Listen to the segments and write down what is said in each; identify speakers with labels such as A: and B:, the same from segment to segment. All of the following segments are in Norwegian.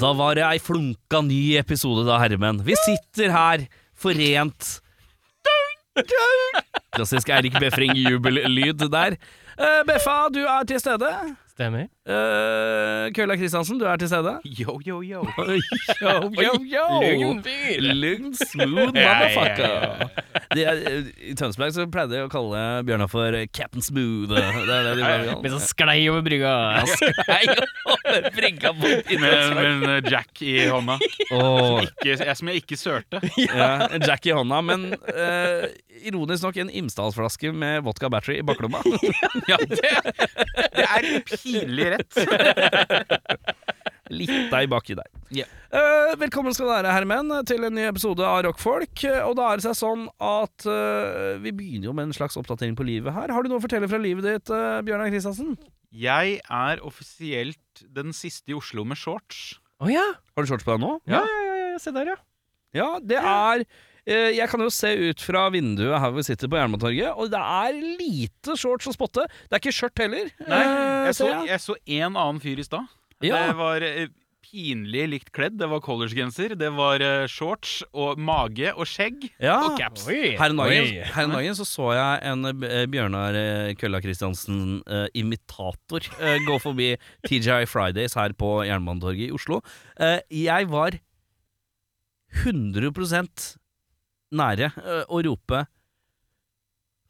A: Da var det ei flunka ny episode da, herremenn. Vi sitter her forent. Klassisk Eirik Befring jubellyd der. Eh, Beffa, du er til stede.
B: Stemmer.
A: Eh, Kølla Kristiansen, du er til stede.
B: Yo, yo, yo.
A: Oi, Yo, yo, yo.
B: Lugn fyr.
A: Lugn, smooth motherfucker. Det er, eh, I Tønsberg så pleide de å kalle Bjørnar for Captain Smooth. Det er det de bare kaller
B: Men så sklei over brygga.
A: Nei, brygga bort i
C: Med,
A: Tønsberg.
C: med en eh, jack i hånda.
A: Åh.
C: Ikke, jeg som jeg ikke sølte.
A: Ja, en Jack i hånda, men eh, ironisk nok en Imsdalsflaske med vodka battery i baklomma.
C: Ja, det, det er pinlig rett.
A: Litt deg baki der.
C: Ja.
A: Eh, velkommen skal dere, herremenn, til en ny episode av Rockfolk. Eh, Og da er det seg sånn at eh, vi begynner jo med en slags oppdatering på livet her. Har du noe å fortelle fra livet ditt, eh, Bjørnar Kristiansen?
C: Jeg er offisielt den siste i Oslo med shorts.
B: Å ja.
A: Har du shorts på deg nå?
B: Ja, ja, ja, ja. Se der, ja.
A: Ja, det er eh, Jeg kan jo se ut fra vinduet her vi sitter på Jernbanetorget, og det er lite shorts å spotte. Det er ikke skjørt heller.
C: Nei,
A: eh,
C: jeg så,
A: ser jeg.
C: jeg så en annen fyr i stad.
A: Ja.
C: Det var eh, pinlig likt kledd. Det var collegegenser, det var eh, shorts og mage og skjegg.
A: Ja.
C: Og caps.
B: Oi.
A: Her om dagen,
B: Oi.
A: her om dagen så, så jeg en eh, Bjørnar eh, Kølla Kristiansen-imitator eh, gå forbi TGI Fridays her på Jernbanetorget i Oslo. Eh, jeg var 100 nære eh, å rope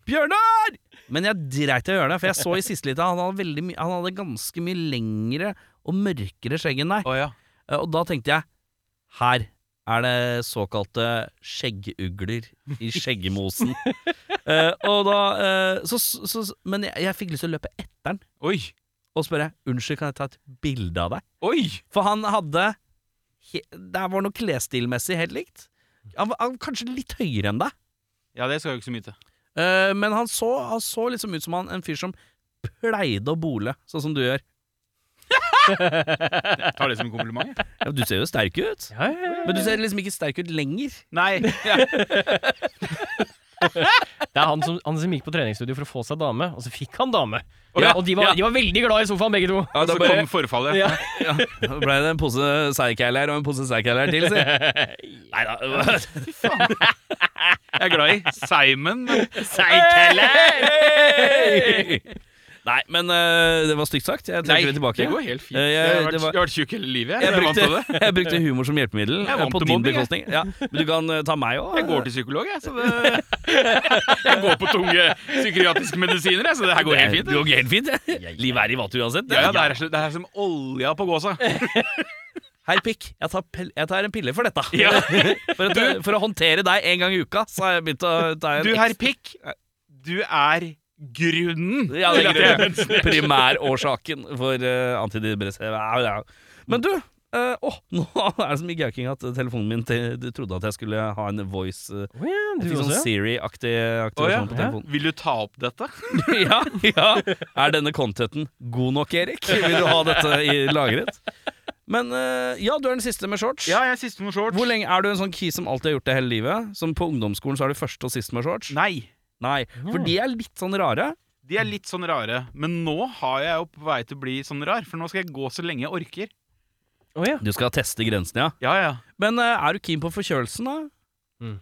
A: 'Bjørnar!' Men jeg dreit i å gjøre det, for jeg så i siste lite han hadde, veldig mye- han hadde ganske mye lengre og mørkere skjegg enn deg.
C: Å ja.
A: Eh, Og da tenkte jeg Her er det såkalte skjeggugler i skjeggemosen. Eh, og da eh, så, så, så, Men jeg, jeg fikk lyst til å løpe etter han
C: Oi.
A: og spørre Unnskyld, kan jeg ta et bilde av deg?
C: Oi!
A: For han hadde he, Det var noe klesstilmessig helt likt. Han var han, var kanskje litt høyere enn deg,
C: Ja, det skal jo ikke så mye til.
A: Eh, men han så, han så liksom ut som han, en fyr som pleide å bole, sånn som du gjør.
C: Jeg tar det som en kompliment. jeg.
A: Ja, du ser jo sterk ut,
B: Ja, ja, ja.
A: men du ser liksom ikke sterk ut lenger.
C: Nei. Ja.
B: Det er han som, han som gikk på treningsstudio for å få seg dame, og så fikk han dame.
C: Å, ja.
B: Og de var,
C: Ja.
B: de var veldig glad i sofaen, begge to.
C: Og så altså, kom forfallet.
B: Ja.
A: Da ble det en pose seigkeiler og en pose seigkeiler til, si. Nei da.
C: Jeg er glad i Simon, men Eh,
A: Nei, men eh, det var stygt sagt. Jeg trekker det tilbake.
C: det går helt fint.
A: Eh, jeg-
C: jeg, har vært,
A: det var-
C: jeg har vært tjukk hele livet. Jeg,
A: Jeg
C: jeg, vant til
A: brukte,
C: det.
A: jeg brukte humor som hjelpemiddel.
C: Jeg er
A: eh,
C: vant
A: På
C: til
A: din
C: mobbing, jeg.
A: bekostning. Ja, men du kan eh, ta meg òg.
C: jeg går til psykolog, jeg. Så det, jeg går på tunge psykiatriske medisiner, jeg, så det her går helt fint.
A: Det går helt fint. jeg. Livet er i vatt uansett.
C: Ja, ja, det, er, det er som olja på gåsa.
A: Hei, pikk. Jeg tar, pel- jeg tar en pille for dette.
C: Ja.
A: For, at, eh, for å håndtere deg en gang i uka, så har jeg begynt å ta en
C: Du, herr Pikk, du er grunnen
A: Ja, det
C: til at jeg
A: er grunnen. primærårsaken for uh, antidepressiva. Au, au. Men du eh, åh, nå er det så mye gauking at telefonen min til, du trodde at jeg skulle ha en voice uh,
B: Å ja, du
A: Sånn
B: også.
A: Siri-aktig
C: Å, ja.
A: aktivasjon på telefonen.
C: Vil du ta opp dette?
A: ja, ja. Er denne contenten god nok, Erik? Vil du ha dette i lagret? Men eh, ja, du er den siste med shorts.
C: Ja, jeg er siste med shorts.
A: Hvor lenge Er du en sånn key som alltid har gjort det hele livet? Som på ungdomsskolen så er du først og sist med shorts?
C: Nei.
A: Nei, for de er litt sånn rare.
C: De er litt sånn rare. Men nå har jeg jo på vei til å bli sånn rar, for nå skal jeg gå så lenge jeg orker.
B: Å ja.
A: Du skal teste grensen, ja.
C: Ja, ja.
A: Men eh, er du keen på forkjølelsen, da?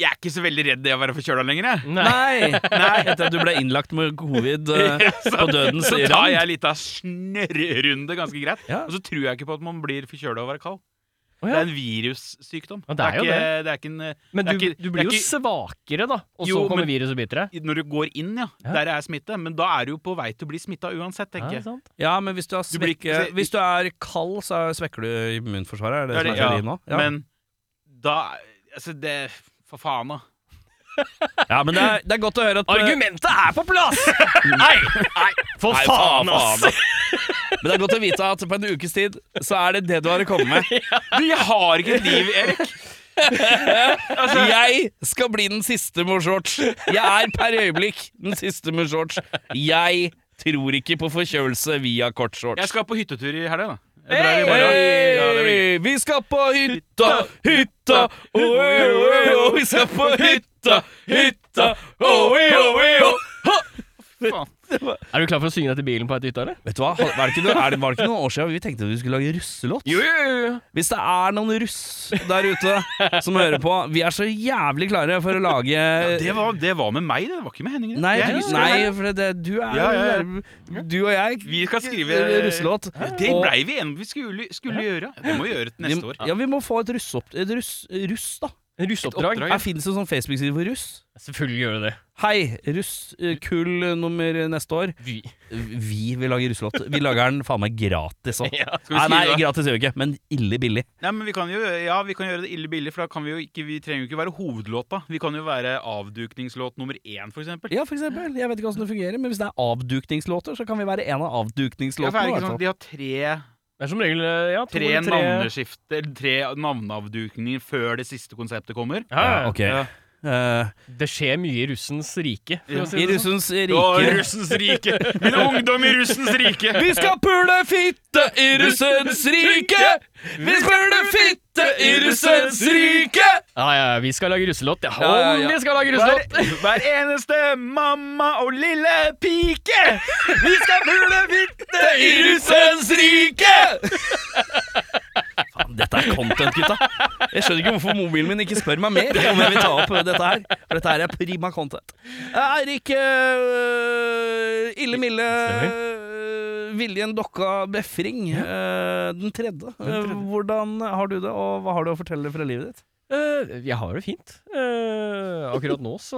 C: Jeg er ikke så veldig redd det å være forkjøla lenger, jeg.
B: Nei.
A: Nei, etter at du ble innlagt med covid eh, på dødens
C: Så tar
A: rand.
C: jeg litt av snørrerunde ganske greit.
A: Ja.
C: Og så tror jeg ikke på at man blir forkjøla av å være kald.
B: Å
C: Det
B: ja.
C: er en virussykdom.
B: Ja, det er jo
C: ikke, det er ikke en eh,
B: Men
C: det er
B: du,
C: ikke-
B: du
C: det er
B: blir jo
C: ikke-
B: svakere, da. Og så
C: Jo,
B: kommer
C: men-
B: viruset og biter deg.
C: Når du går inn, ja.
B: Ja.
C: Der er smitte. Men da er du jo på vei til å bli smitta uansett, tenker
B: Ja,
C: jeg.
B: sant?
A: Ja, men hvis du, har
C: Du blir
A: svekke,
C: ikke-
A: hvis du er kald, så er- svekker du immunforsvaret. Er det,
C: Ja, det-
A: som er teorien nå? Ja.
C: Men da Altså, det For faen, da.
A: ja, men det er, det er godt å høre at eh,
B: Argumentet er på plass! Nei! Nei, for
A: Nei, faen,
B: faen, ass!
A: Men det er godt å vite at på en ukes tid så er det det du har å komme med.
C: Du, jeg har ikke et liv, Erik. altså,
A: Jeg skal bli den siste med shorts. Jeg er per øyeblikk den siste med shorts. Jeg tror ikke på forkjølelse via kort shorts.
C: jeg skal på hyttetur i helga, da. Jeg drar i morgen. Ja, det blir-
A: Hei, vi skal på hytta, hytta, oi, oi, oi, vi skal på hytta, hytta, oi, oi, oi.
C: faen.
B: Er du klar for å synge dette i bilen på vei til hytta, eller?
A: Vet du hva, var det, ikke noe, er det, var det ikke noen år siden vi tenkte at vi skulle lage russelåt?
C: Jo, jo, jo, jo.
A: Hvis det er noen russ der ute som hører på, vi er så jævlig klare for å lage
C: Ja, det, var, det var med meg, det. Det var ikke med Henning. det.
A: Eh, Nei,
C: Jeg
A: du-
C: husker
A: nei
C: det her.
A: for det, du er
C: Ja, ja,
A: Du og jeg
C: Vi skal skrive
A: russelåt.
C: Det
A: Eh, og-
C: blei vi enige om vi skulle, skulle gjøre. Det må vi gjøre til neste år.
A: Vi, ja, vi må få et russopp... Et russ, russ da.
B: En russeoppdrag?
C: oppdrag.
A: Her finnes det en sånn Facebook-side for russ.
B: Selvfølgelig gjør du det.
A: Hei, russ eh, kull nummer neste år.
B: Vy.
A: Vi vil lage russelåt. Vi lager den faen meg gratis òg.
B: Ja.
C: Skal vi
A: Nei, nei,
C: skrive det?
A: gratis gjør vi ikke, men ille billig.
C: Nei, men vi kan jo, ja, vi kan gjøre det ille billig, for da kan vi jo ikke, vi trenger jo ikke være hovedlåta. Vi kan jo være avdukningslåt nummer én, for eksempel.
A: Ja, for eksempel. Jeg vet ikke hvordan det fungerer, men hvis det er avdukningslåter, så kan vi være en av
C: Ja, for
A: avdukningslåtene.
C: er det
A: i hvert
C: ikke sånn
A: fall.
C: at De har tre,
B: Det er som regel eh, ja, to
C: tre
B: eller tre
C: navneskifter, eller tre navneavdukninger før det siste konseptet kommer.
B: Ja,
A: Ja,
B: ja.
A: ok.
C: Ja.
A: Eh,
B: Det skjer mye i russens rike. For
C: Ja.
B: å si
A: I
B: det sånn.
A: russens
C: Å,
A: rike
C: russens rike! Min ungdom i russens rike!
A: Vi skal pule fitte i russens rike! Vi pule fitte i russens rike!
B: Ja, ja, ja, vi skal lage russelåt. Ja,
A: Ja, ja, ja.
B: vi skal lage
C: Hver,
B: russelåt!
C: hver eneste mamma og lille pike! Vi skal pule fitte i
A: russens rike! Faen, dette er content, gutta. Jeg skjønner ikke hvorfor mobilen min ikke spør meg mer om jeg vil ta opp dette her. For dette her er prima content. Eh, Eirik øh, Ille Mille øh, Viljen Dokka Befring, øh, den tredje. Øh, Hvordan har du det, og hva har du å fortelle fra livet ditt?
B: Eh, jeg har det fint. Eh, akkurat nå så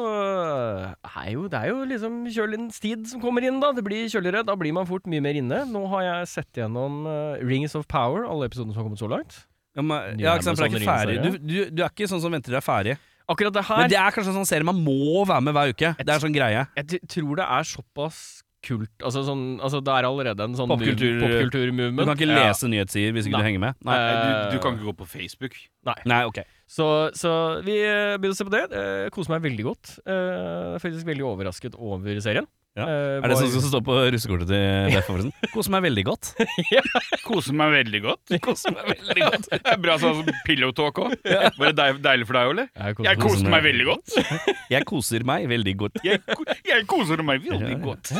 B: er jo, det er jo liksom kjølens tid som kommer inn, da. Det blir kjøligere. Da blir man fort mye mer inne. Nå har jeg sett gjennom eh, Rings of Power, alle episodene som har kommet så langt.
A: Ja, men,
B: Ny
A: ja, ikke sant, for det er ikke
B: Amazon
A: ferdig. Du,
B: ringserie.
A: du, du er ikke sånn som venter deg ferdig.
B: Akkurat det her
A: Men det er kanskje en sånn serie man må være med hver uke. Det er en sånn greie.
B: Jeg t- tror det er såpass kult Altså, sånn, altså det er allerede en sånn
A: Popkultur- Du
B: popkultur-movement.
A: kan ikke
B: Ja.
A: lese nyhetssider hvis ikke
B: Nei. Eh,
A: du henger med. Nei,
C: Nei, du, du kan ikke gå på Facebook.
A: Nei ok.
B: Så, så vi eh, begynner å se på det. Eh, koser meg veldig godt. Eh, faktisk veldig overrasket over serien.
A: Ja.
B: Eh,
A: Er det
B: var-
A: sånn som står på russekortet til Leif Oversen? Koser meg veldig godt.
C: Koser meg veldig godt.
A: Koser meg veldig godt.
C: Det er bra sånn pillow talk òg. Var det deil- deilig for deg, Ole?
B: Jeg
C: Jeg
B: koser
C: koser
A: meg.
C: meg veldig godt.
A: Jeg koser meg veldig godt.
C: Jeg, ko- jeg koser meg veldig godt.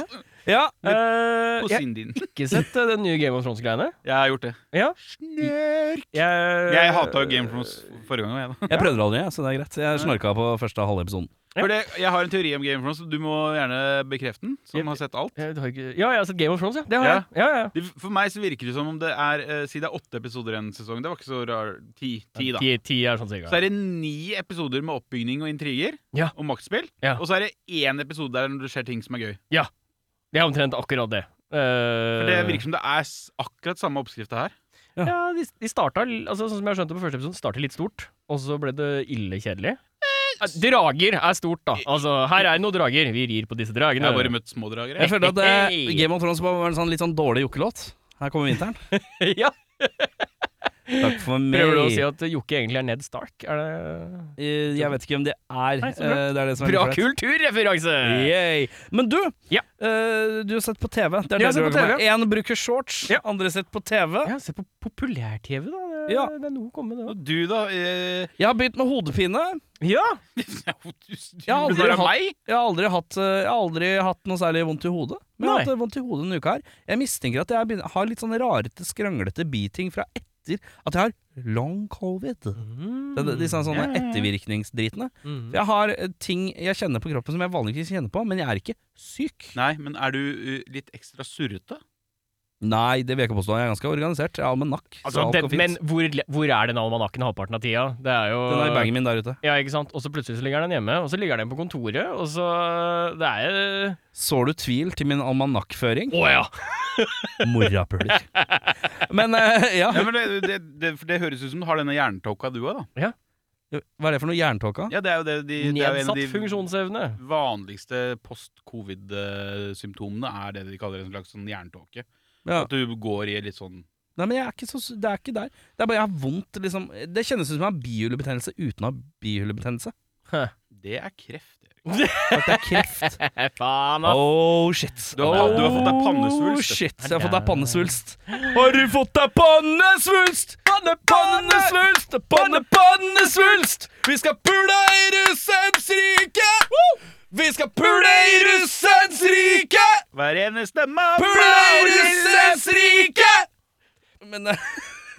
A: Ja,
B: meg. Eh, jeg har
C: Kosinen din.
B: ikke sett eh, den nye Game of Thrones-greiene.
C: Jeg har gjort det.
B: Ja.
C: Snørk.
B: Jeg, eh,
C: Jeg hata jo Game of Thrones forrige gang. Jeg, da.
A: Jeg prøvde det aldri, jeg, så det er greit. Jeg snorka på første halve episoden.
C: For det, jeg har en teori om Game of Thrones, du må gjerne bekrefte den. Som har sett alt.
B: Jeg har ikke, ja, jeg har sett Game of Thrones, ja. Det har
C: Ja.
B: jeg. Ja, ja, ja.
C: Det, for meg så virker det som om det er eh, Si det er åtte episoder i en sesong. Det var ikke så rar Ti, ti da.
B: Ti, ti er sånn cirka.
C: Så er det ni episoder med oppbygning og intriger
B: Ja.
C: og maktspill.
B: Ja.
C: Og så er det én episode der når det skjer ting som er gøy.
B: Det er omtrent akkurat det. Eh,
C: For Det virker som det er s- akkurat samme oppskrifta her.
A: Ja.
B: Ja, de, de starta, l- altså sånn som jeg skjønte på første episode, startet litt stort, og så ble det ille kjedelig. Eh, Drager er stort, da. Altså, her er det noen drager. Vi rir på disse
C: Jeg
B: dragene.
C: har bare møtt små drager.
A: Jeg
C: Jeg.
A: følte at eh, Game of Thrones var en sånn litt sånn dårlig jokkelåt. Her kommer vinteren.
B: ja.
A: Takk for meg.
B: Prøver du å si at eh, Jokke egentlig er Ned Stark? Er det
A: Eh, Jeg vet ikke hvem det er.
B: Nei, så bra.
A: Eh, Det er det som er
B: Bra
A: litt flaut.
B: kulturreferanse!
A: Yay. Men du,
B: Ja.
A: eh, du har sett på TV. Det
B: Jeg
A: er det
B: har
A: du
B: sett på
A: har
B: TV.
A: gjort. Én bruker shorts,
B: Ja.
A: andre sett på TV.
B: Ja, se på populær-TV, da. Det,
A: Ja.
B: det er noe å komme med, det
C: Og du, da? Eh,
A: Jeg har begynt med hodepine.
B: òg. Ja!
C: du, du, du,
A: Ja, aldri
C: bare
A: hatt-
C: meg?
A: Jeg har aldri hatt, eh, jeg har aldri hatt noe særlig vondt i hodet. Men jeg
B: Nei.
A: har hatt eh, vondt i hodet denne uka her. Jeg mistenker at jeg begynner, har litt sånn rarete, skranglete biting fra etter at jeg har long covid.
B: Mm.
A: Det, det, disse sånne
C: Ja, ja, ja.
A: ettervirkningsdritene.
B: Mm.
A: Jeg har eh, ting jeg kjenner på kroppen som jeg vanligvis kjenner på, men jeg er ikke syk.
C: Nei, men er du eh, litt ekstra surrete?
A: Nei, det vil jeg ikke påstå. Jeg er ganske organisert. Jeg har almanakk. så
B: Altså,
A: alt
B: det,
A: går fint.
B: men hvor, le- hvor er den almanakken halvparten av tida? Det er jo
A: Den er i bagen min der ute.
B: Ja, ikke sant? Og så plutselig så ligger den hjemme, og så ligger den på kontoret, og så Det er jo
A: Sår du tvil til min almanakkføring?
B: Å ja!
A: Morapuler. Men eh, ja.
C: Ja, men det, det, det, for det høres ut som du har denne hjernetåka, du òg, da.
A: Hva er det for noe? Jerntåka?
C: Ja, det er jo det, de, det er jo en av
B: Nedsatt
C: de
B: funksjonsevne.
C: vanligste post-covid-symptomene er det de kaller en slags sånn jerntåke.
A: Ja.
C: At du går i litt sånn
A: Nei, men jeg er ikke så, det er ikke der. Det er bare jeg har vondt, liksom. Det kjennes ut som jeg har bihulebetennelse uten å ha bihulebetennelse.
C: Det er kreft. Erik.
A: At det er kreft.
B: Faen,
A: Oh shit.
C: Du har- du har fått deg pannesvulst.
A: Oh shit, jeg har fått deg pannesvulst. Har du fått deg pannesvulst? Panne, pannesvulst! Panne, pannesvulst! Vi skal pule i russens rike! Vi skal pule i russens rike!
C: stemma
A: Rike! Men eh,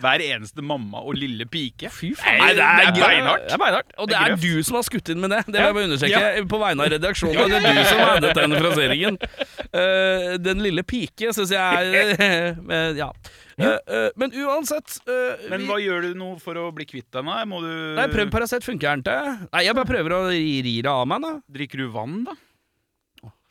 C: Hver eneste mamma og lille pike.
B: Fy faen.
C: Nei, det er beinhardt.
B: Det er beinhardt.
A: Og det
C: Det er
A: er
C: grøft.
A: du som har skutt inn med det. Det vil jeg bare understreke. Eh, På vegne av redaksjonen. Det er du som har hendet den fraseringen. Eh, den lille pike syns jeg er eh, Ja. Eh, eh, men uansett eh,
C: Men
A: vi-
C: hva gjør du nå for å bli kvitt deg? Må du
A: Nei, prøv Paracet. Funker den til? Nei, jeg bare prøver å ri, ri det av meg, da.
C: Drikker du vann, da?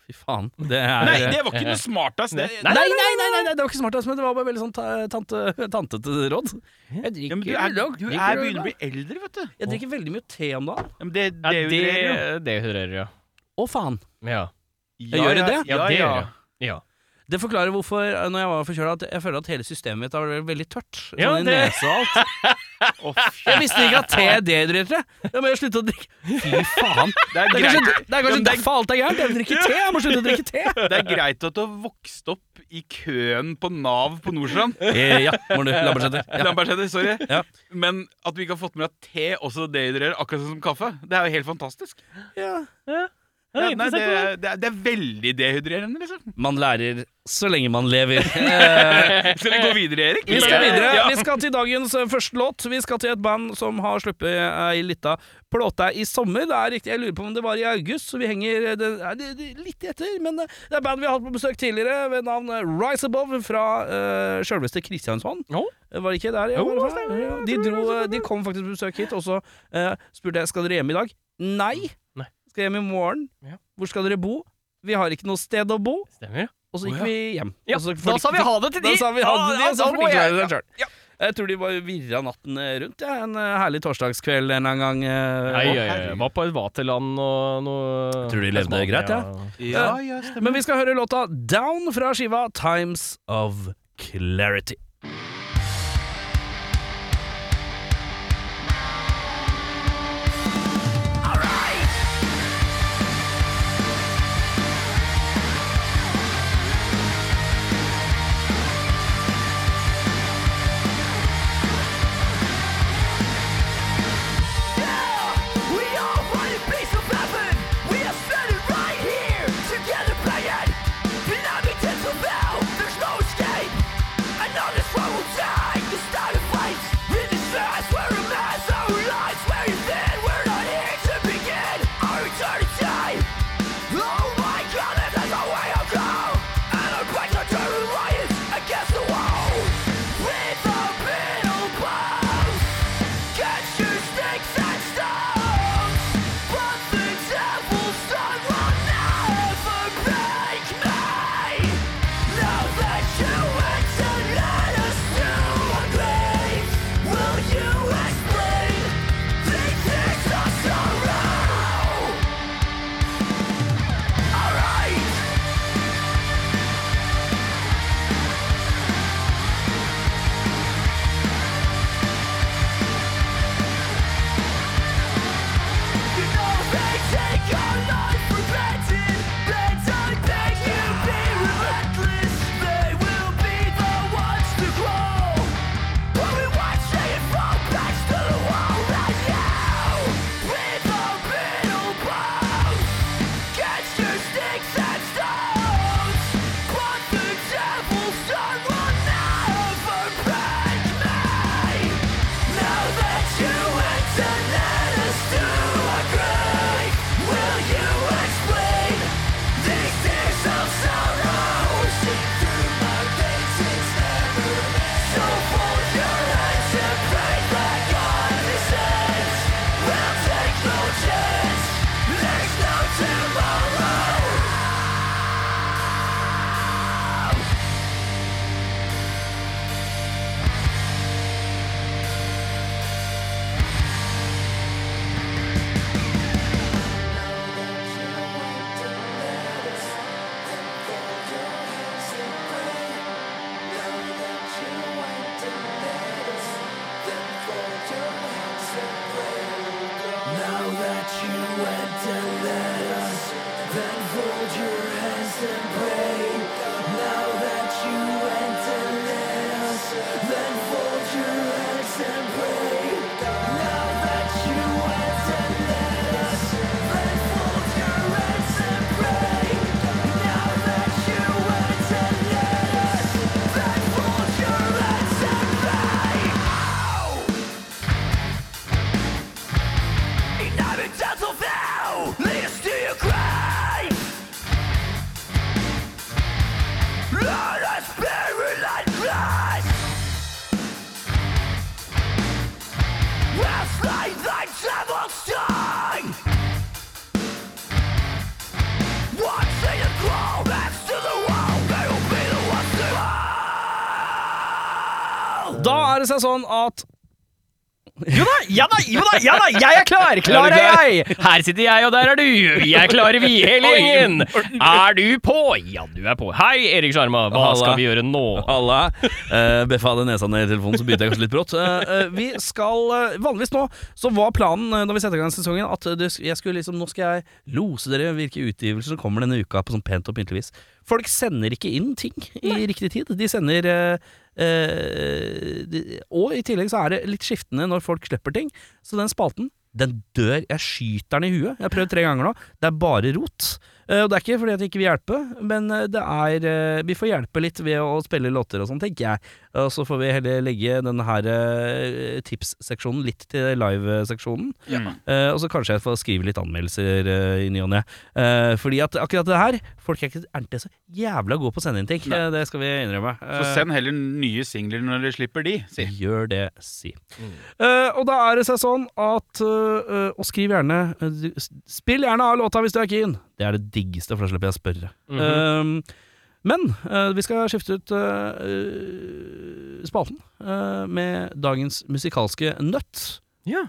A: Fy faen. Det er
C: Nei, det var ikke noe smartest. Det,
A: Nei, nei, nei, nei, nei, det var ikke smart, altså, men det var bare veldig sånn ta- tante, tantete råd. Jeg drikker,
C: ja, men du er,
A: øl,
C: du
A: drikker
C: er
A: øl,
C: begynner å
A: da.
C: bli eldre, vet du.
A: jeg drikker veldig mye te om dagen.
C: Ja, men det,
B: Ja,
C: det,
B: det,
C: det, det,
B: hører jeg.
A: Å, faen.
B: Ja.
A: Jeg gjør det?
C: Ja,
B: Ja, det
C: ja.
B: gjør jeg. Ja.
A: Det forklarer hvorfor, eh, når jeg var forkjøla, at jeg føler at hele systemet mitt har vært veldig tørt. Sånn
B: Ja,
A: i
B: det-
A: nese og alt.
C: Å, fy.
A: Jeg visste ikke at te dehydrerte. Da må jeg slutte å drikke. Fy faen.
C: Det er
A: Det er kanskje, det er
C: greit. Ja,
A: kanskje
C: men det er-
A: derfor alt er gærent. Jeg vil drikke te. Jeg må slutte å drikke te.
C: Det er greit at du har vokst opp i køen på Nav på Nordstrand.
A: Eh, Ja, må du. Lambertseter. Ja.
C: Lambertseter, sorry.
A: Ja.
C: Men at vi ikke har fått med at te også dehydrerer, akkurat sånn som kaffe, det er jo helt fantastisk.
A: Ja.
B: Ja,
C: nei, det,
B: interessant,
C: er- det, er, det er veldig dehydrerende, liksom.
A: Man lærer så lenge man lever. Eh,
C: Skal vi gå videre, Erik?
A: Vi skal videre.
C: Ja.
A: Vi skal til dagens eh, første låt. Vi skal til et band som har sluppet eh, ei lita plate i sommer. Det er riktig, Jeg lurer på om det var i august, så vi henger eh, det er det- det er litt etter. Men eh, det er band vi har hatt på besøk tidligere, ved navn eh, Rise Above fra uh, sjølveste Kristiansand.
B: Jo.
A: Eh, Var det ikke der?
B: Jo,
A: var det
B: stemmer,
A: fra?
B: jeg
A: de,
B: tror det
A: dro,
B: var
A: eh, de kom faktisk på besøk hit, og så eh, spurte jeg skal dere hjem i dag. Nei.
B: Nei.
A: Skal hjem i morgen.
B: Ja.
A: Hvor skal dere bo? Vi har ikke noe sted å bo.
B: Stemmer.
A: Og så gikk
C: Å, ja.
A: vi hjem.
B: Ja,
A: Og så
B: da sa vi ha det til de.
A: Da sa vi ha det til de,
B: Ja,
A: og så
B: da
A: fikk
B: må
A: de
B: jeg-
A: klare seg selv.
B: ja.
A: Jeg tror de bare virra natten eh, rundt, ja. en eh, herlig torsdagskveld en eller annen gang. eh,
B: Nei,
A: og-
B: jeg, jeg var på et vaterland og noe
A: Tror du de levde
B: Tasmania.
A: greit, ja?
C: Ja, ja, stemmer.
A: Men vi skal høre låta Down fra skiva Times of Clarity.
D: We all want a piece of heaven. We are standing right here, together playing. The inhabitants of hell, there's no escape. Another soul will die. The start of fights in this mess. We're a mess. Our lives very thin. We're not here to begin our eternity. Oh my God, this is the way of go. And our backs are turning lions against the wall. With the middle blows. Catch your sticks and stones, but the devil's son will never break me. Now that you exit, let us to a grave. Will you explain the things of sorrow? Alright. You know they take our life for granted. They don't think you be relentless. They will be the ones to grow. But we watch it fall back to the wall right now. With our middle blows, catch your sticks and stones. But the devil's son will never break me. Now that you enter, let us do a grave. Will you explain these tears of sorrow? Seen through my veins, it's never end. So fold your hands and pray that God descends. We'll take no chance. There's no tomorrow. Now that you went and let us, then fold your hands and pray. Now that you went and let us, then fold your hands and pray. Now that you went and let us, then fold your hands and pray. Now that you went
A: seg sånn at
B: Jo da, ja da, jo da, ja da, jeg er klar! Klar er jeg! Her sitter jeg, og der er du! Vi er klare, vi, hele gjengen! Er du på? Ja, du er på. Hei, Erik Sjarma, hva
A: Halla.
B: skal vi gjøre nå?
A: Halla. Uh, Beffa hadde nesa ned i telefonen, så begynte jeg kanskje litt brått. Eh, eh, vi skal eh, Vanligvis nå så var planen uh, når vi setter i gang sesongen, at eh, det, sk- jeg skulle liksom Nå skal jeg lose dere hvilke utgivelser som kommer denne uka, på sånn pent og pyntelig vis. Folk sender ikke inn ting i riktig tid. De sender eh, eh, de, Og i tillegg så er det litt skiftende når folk slipper ting. Så den spalten, den dør. Jeg skyter den i huet. Jeg har prøvd tre ganger nå. Det er bare rot. Eh, Og det er ikke fordi at jeg ikke vil hjelpe, men eh, det er eh, Vi får hjelpe litt ved å spille låter og sånn, tenker jeg. Og så får vi heller legge denne her eh, tipsseksjonen litt til liveseksjonen.
C: Ja.
A: Eh, og så kanskje jeg får skrive litt anmeldelser eh, i ny og ne. Eh, fordi at akkurat det her Folk er ikke, er ikke så jævla gode på å sende inn ting.
C: Nei.
A: Eh, det skal vi innrømme.
C: Så
A: Eh,
C: send heller nye singler når dere slipper de, si.
A: Gjør det, si. Eh, og da er det seg sånn at eh, eh, Og skriv gjerne eh, du- s- Spill gjerne av låta hvis du er keen! Det er det diggeste, for da slipper jeg å spørre. Eh, men eh, vi skal skifte ut eh, eh, spalten eh, med dagens musikalske nøtt.
B: Ja.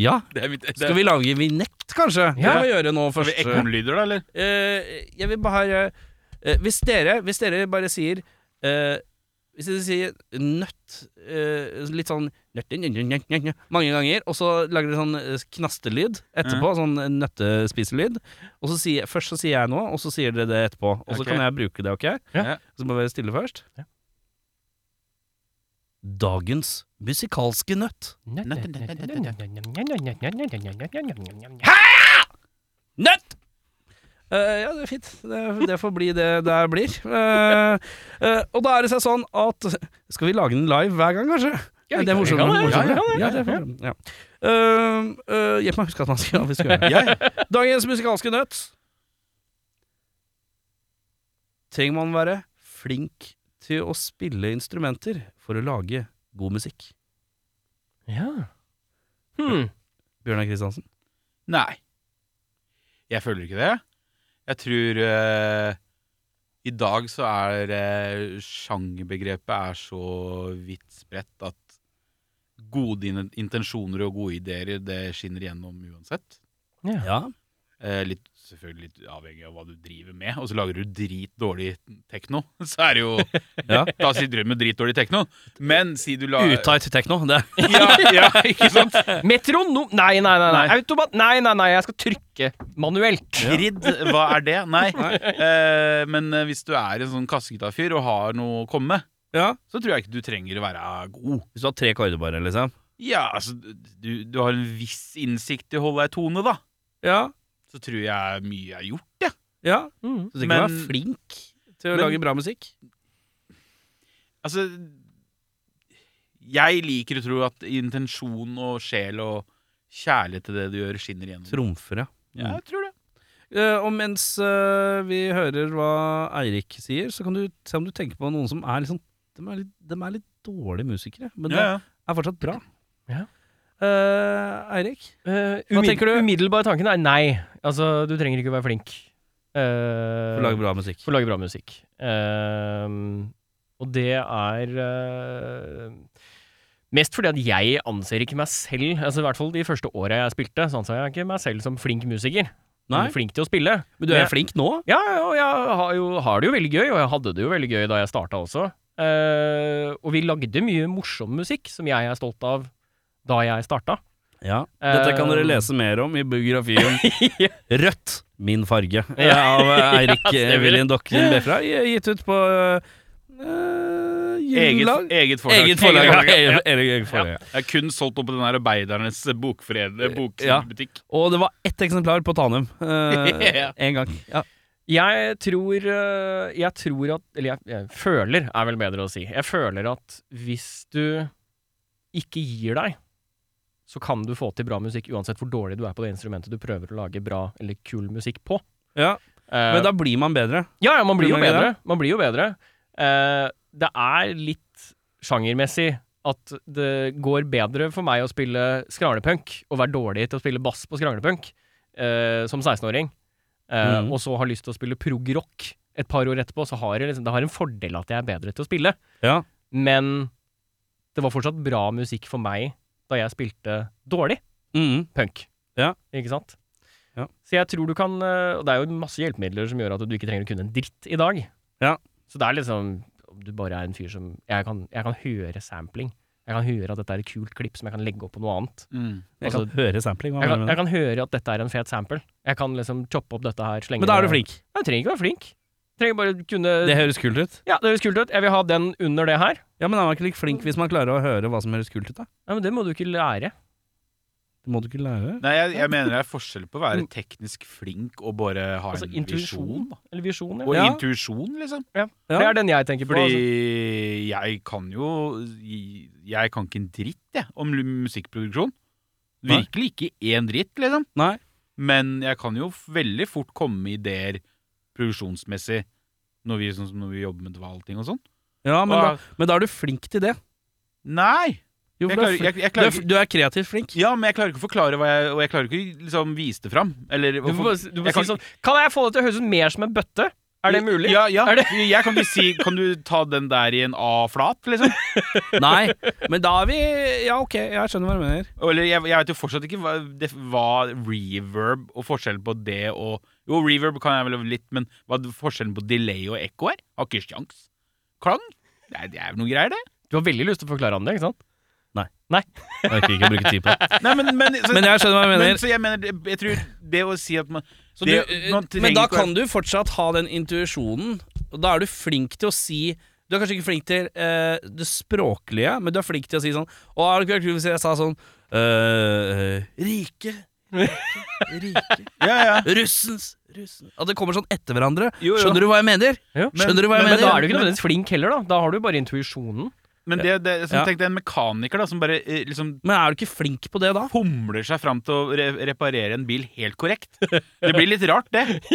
A: Ja,
C: Det er mitt, det,
A: skal vi lage vignett, kanskje? Det
B: Ja.
A: kan vi gjøre nå
C: Har vi
A: først.
C: ekornlyder, da, eller?
A: Eh, jeg vil bare eh, hvis, dere, hvis dere bare sier eh, Hvis dere sier nøtt eh, litt sånn nøtt, nøtt, nøtt, nøtt, nøtt, nøtt, mange ganger, og så lager dere sånn eh, knastelyd
B: Mm.
A: etterpå, sånn nøttespiselyd, og så sier, først så sier jeg noe, og så sier dere det etterpå, og så
C: Ok.
A: kan jeg bruke det, OK?
B: Ja.
A: Så må vi være stille først.
B: Ja.
A: Dagens musikalske nøtt. Nøtt! Eh, ja, det er fint. Det, det får bli det det blir. Eh, eh, og da er det seg sånn at Skal vi lage den live hver gang, kanskje?
B: Ja,
A: det er
B: vi kan
A: morsommere.
B: det, vi kan
A: morsommere.
B: det,
A: Ja, det er morsommere, ja. Eh, eh, Hjelp meg å huske at man skal, vi skal gjøre det. Dagens musikalske nøtt. Trenger man være flink til å spille instrumenter for å lage god musikk?
B: Ja. Hmm.
A: Bjørnar Kristiansen.
C: Nei. Jeg føler ikke det. Jeg tror eh, I dag så er eh, sjangerbegrepet er så vidt spredt at gode in intensjoner og gode ideer, det skinner igjennom uansett.
B: Ja.
A: Ja.
C: Eh, litt, selvfølgelig litt avhengig av hva du driver med. Og så lager du dritdårlig tekno, så er det jo
A: Ja.
C: Da sitter du med dritdårlig tekno. Men si du la
A: Utight techno. Det er
C: Ja, ja, ikke sant?
B: Metronom Nei, nei, nei. nei.
C: Nei.
B: Automat Nei, nei, nei, jeg skal trykke manuelt.
C: Kridd, hva er det? Nei. Eh, men eh, hvis du er en sånn kassegitarfyr og har noe å komme med,
A: Ja.
C: så tror jeg ikke du trenger å være god.
A: Hvis du har tre korder, bare, liksom.
C: Ja, altså, du, du har en viss innsikt i å holde ei tone, da.
A: Ja,
C: Så tror jeg mye er gjort.
A: ja.
B: Mm.
A: Så du
C: Men-
A: kan være flink til å
C: Men-
A: lage bra musikk?
C: Altså Jeg liker å tro at intensjon og sjel og kjærlighet til det du gjør, skinner igjennom.
A: Trumfer, ja.
C: Ja, jeg tror det.
A: Eh, og mens eh, vi hører hva Eirik sier, så kan du se om du tenker på noen som er liksom De er litt, de er litt dårlige musikere, men
C: Ja, ja.
A: de er fortsatt bra.
B: Ja.
A: Eh, Eirik?
B: Eh,
A: Hva
B: umid-
A: tenker du?
B: Umiddelbare tanken er nei. Altså, du trenger ikke være flink.
A: Du
B: Uh,
A: lager bra musikk.
B: For å lage bra musikk. Ehm, og det er eh, Mest fordi at jeg anser ikke meg selv Altså I hvert fall de første åra jeg spilte, så anså jeg ikke meg selv som flink musiker.
A: Nei,
B: Flink til å spille.
A: men du er
B: Men-
A: flink nå?
B: Ja, ja, og jeg har, jo, har det jo veldig gøy, og jeg hadde det jo veldig gøy da jeg starta også. Eh, og vi lagde mye morsom musikk som jeg er stolt av da jeg starta.
A: Ja. Dette kan dere
B: Eh,
A: lese mer om i biografien
B: Ja.
A: Rødt, min farge,
B: Ja.
A: av eh, Eirik
B: Ja,
A: eh,
B: stemmer det.
A: William Dokken Befra. Gitt ut på eh, uh,
C: Eget,
A: Julelag.
C: eget forlag.
A: Eget forlag. ja.
C: Eget forlag, ja.
A: Eget- eget forlag, ja.
C: Jeg er kun solgt opp på den her arbeidernes bokfred,
A: Ja.
C: bokbutikk.
A: Og det var ett eksemplar på Tanum. Eh,
C: Ja.
A: En gang. Ja.
B: Jeg tror, eh, jeg tror at Eller jeg, jeg føler, er vel bedre å si. Jeg føler at hvis du ikke gir deg, så kan du få til bra musikk uansett hvor dårlig du er på det instrumentet du prøver å lage bra eller kul musikk på.
A: Ja.
B: Eh,
A: Men da blir man bedre.
B: ja, ja, man blir jo
A: Blir man ikke
B: bedre. Man blir jo bedre. Eh, det er litt sjangermessig at det går bedre for meg å spille skravlepunk og være dårlig til å spille bass på skravlepunk eh, som 16-åring, eh,
A: Mhm.
B: og så har lyst til å spille prog-rock et par år etterpå, så har jeg liksom, det har en fordel at jeg er bedre til å spille.
A: Ja.
B: Men det var fortsatt bra musikk for meg da jeg spilte dårlig
A: Mm.
B: punk.
A: Ja.
B: Ikke sant?
A: Ja.
B: Så jeg tror du kan eh, Og det er jo masse hjelpemidler som gjør at du ikke trenger å kunne en dritt i dag.
A: Ja.
B: Så det er liksom Om du bare er en fyr som Jeg kan, jeg kan høre sampling. Jeg kan høre at dette er et kult klipp som jeg kan legge opp på noe annet.
C: Mm.
A: Jeg kan
B: Altså,
A: høre sampling. Hva
B: Jeg
A: mener du
B: kan, jeg
A: med det?
B: kan høre at dette er en fet sample. Jeg kan liksom choppe opp dette her. Slenge
A: Men da er du
B: det-
A: flink.
B: Jeg trenger ikke være flink. Jeg trenger bare kunne
A: Det høres kult ut.
B: Ja, det høres kult ut. Jeg vil ha den under det her.
A: Ja, Men er man ikke like flink hvis man klarer å høre hva som høres kult ut, da?
B: Ja, men det må du ikke lære.
A: Det må du ikke lære.
C: Nei, jeg, jeg mener det er forskjell på å være teknisk flink og bare ha
B: Mm. Altså
C: en visjon.
B: intuisjon. Eller visjon,
C: Og
B: ja.
C: intuisjon, liksom.
A: Ja.
B: Det er den jeg tenker på. altså.
C: Fordi jeg kan jo Jeg kan ikke en dritt jeg, om musikkproduksjon.
A: Nei.
C: Virkelig ikke én dritt, liksom.
A: Nei.
C: Men jeg kan jo f- veldig fort komme med ideer produksjonsmessig når vi, sånn som når vi jobber med dvalting og sånn.
A: Ja, men da,
C: Og-
A: men da er du flink til det.
C: Nei!
A: Jo,
C: Jeg
A: for du er
C: klarer, jeg, jeg
A: fl- du,
C: klarer
A: er,
C: ikke
A: f- du er kreativt flink.
C: Ja, men jeg klarer ikke å forklare hva jeg Og jeg klarer ikke å liksom vise det fram. Eller
B: Du må,
C: hvorfor-
B: bare si- du må
C: jeg kan
B: si sånn Kan jeg få det til å høres ut mer som en bøtte? Er det mulig?
C: Ja, ja.
B: Er det-
C: Jeg kan ikke si Kan du ta den der i en A-flat, liksom?
A: Nei, men da er vi Ja, ok, jeg skjønner hva du mener.
C: Eller jeg, jeg vet jo fortsatt ikke hva, det, hva reverb og forskjellen på det og Jo, reverb kan jeg vel litt, men hva er forskjellen på delay og ekko er? Har ikke sjans. Klang? Det er, det er jo noe greier, det.
B: Du har veldig lyst til å forklare han det, ikke sant?
A: Jeg orker ikke å bruke tid på det.
C: Nei, men, men, så,
A: Men jeg skjønner hva du
C: men,
A: mener.
C: så jeg mener det- Jeg tror det å si at man
A: Så
C: det,
A: du, eh,
C: man trenger
A: men da
C: ikke å-
A: kan du fortsatt ha den intuisjonen. og Da er du flink til å si Du er kanskje ikke flink til eh, det språklige, men du er flink til å si sånn Å, er det ikke kult hvis jeg sa sånn eh, Rike. Rike.
C: Ja, ja.
A: Russens. Russen. At det kommer sånn etter hverandre.
C: Jo, jo.
A: Skjønner du hva jeg mener?
B: Ja.
C: Men-
A: Skjønner du hva jeg
B: Men,
A: mener?
B: da er du ikke nødvendigvis flink heller, da. Da har du bare intuisjonen.
C: Men det, det som
A: Ja.
C: tenkte jeg, en mekaniker da som bare eh, liksom
A: Men er du ikke flink på det da?
C: humler seg fram til å re reparere en bil helt korrekt. Det blir litt rart, det.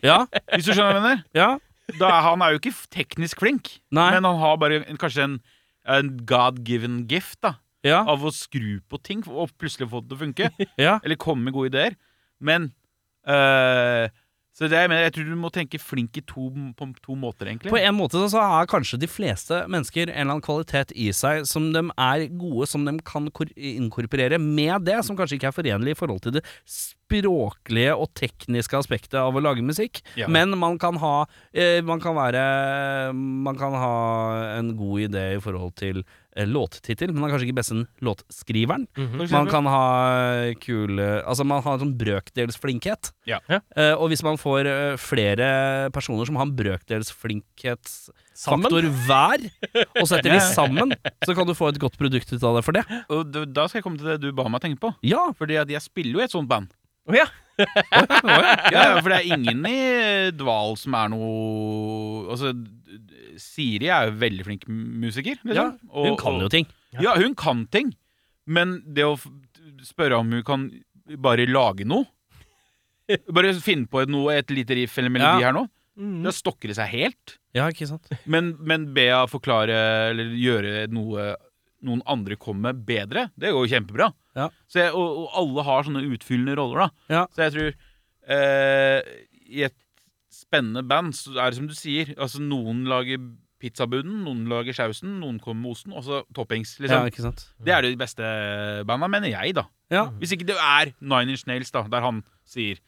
A: Ja?
C: Hvis du skjønner hva jeg mener.
A: ja.
C: Da er, han er jo ikke f- teknisk flink,
A: Nei.
C: men han har bare en, kanskje en, en god-given gift da
A: Ja.
C: av å skru på ting og plutselig få det til å funke.
A: ja.
C: eller komme med gode ideer. Men øh, Så det jeg mener, jeg tror du må tenke flink i to, på to måter, egentlig.
A: På en måte så har kanskje de fleste mennesker en eller annen kvalitet i seg som de er gode, som de kan kor- inkorporere med det, som kanskje ikke er forenlig i forhold til det språklige og tekniske aspektet av å lage musikk.
C: Ja.
A: Men man kan ha eh, Man kan være Man kan ha en god idé i forhold til eh, låttittel, men man er kanskje ikke best enn låtskriveren.
C: For eksempel.
A: Man kan ha kule Altså man har en sånn brøkdelsflinkhet.
C: Ja.
B: Ja.
A: Eh, og hvis man får eh, flere personer som har en brøkdelsflinkhetsfaktor
B: Sammen.
A: hver, og setter de
C: Ja.
A: sammen, så kan du få et godt produkt ut av det for det.
C: Og d- da skal jeg komme til det du ba meg tenke på.
A: Ja!
C: Fordi at jeg spiller jo i et sånt band.
B: Å ja.
C: Ja, ja, for det er ingen i Dval som er noe Altså, Siri er jo veldig flink musiker. Liksom.
A: Ja, Hun
C: Og-
A: kan jo ting.
C: Ja, hun kan ting, men det å f- spørre om hun kan bare lage noe Bare finne på et, noe, et lite riff eller melodi
A: Ja.
C: her nå.
B: Mm.
C: Da stokker det seg helt.
A: Ja, ikke sant?
C: Men, men be henne forklare eller gjøre noe noen andre kommer med bedre, det går jo kjempebra.
A: Ja.
C: Så jeg, og, og alle har sånne utfyllende roller, da.
A: Ja.
C: Så jeg tror eh, I et spennende band så er det som du sier. Altså Noen lager pizzabunnen, noen lager sausen, noen kommer med osten, og så toppings.
A: Ja,
C: Liksom.
A: ikke sant?
C: Det er de beste banda, mener jeg, da.
A: Ja.
C: Hvis ikke det er Nine Inch Nails, da, der han sier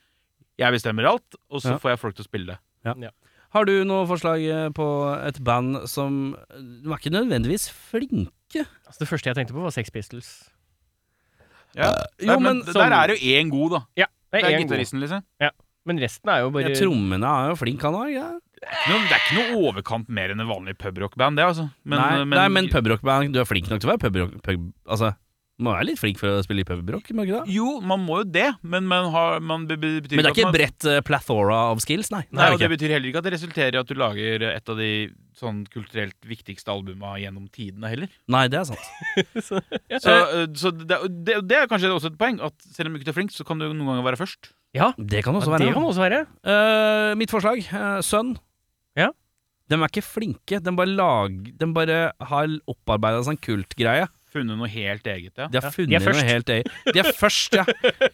C: 'jeg bestemmer alt', og så
A: Ja.
C: får jeg folk til å spille det.
A: Har du noe forslag eh, på et band som eh, De er ikke nødvendigvis flinke.
B: Altså, det første jeg tenkte på, var Sex Pistols.
A: Jo,
C: Nei, men,
A: men
C: der
A: sånn-
C: er jo én god, da.
B: Det
C: Det
B: er
C: er
B: én god.
C: gitaristen, liksom.
B: Men resten er jo
A: Ja,
B: bare
A: trommene er jo flink, han òg. Ja.
C: Nå, det er ikke noe overkant mer enn en vanlig pubrockband, det, altså. Men,
A: nei, men, nei, men pubrockband Du er flink nok til å være pubrock pub, Altså, du må være litt flink for å spille i pubrock, må du ikke det?
C: Jo, man må jo det, men man har, man be- be- betyr
A: Men det er
C: at
A: ikke
C: man,
A: et bredt eh, plathora av skills, nei. det er
C: Nei, og det
A: det ikke.
C: betyr heller ikke at det resulterer i at du lager et av de sånn kulturelt viktigste albuma gjennom tidene heller.
A: nei, det er sant. Eh.
C: Så, øh, så det, det, det er kanskje også et poeng at selv om du ikke er flink, så kan du noen ganger være først.
B: Ja,
A: Det kan
B: ja,
A: også
B: det
A: være.
B: kan også være.
A: Eh, mitt forslag, eh, Sønn.
B: Ja.
A: De er ikke flinke. De bare, lag, de bare har opparbeida seg en kultgreie.
C: Funnet noe helt eget, ja.
A: De har
B: Ja, de
A: funnet
B: er
A: noe
B: først.
A: helt eget. De er først, ja.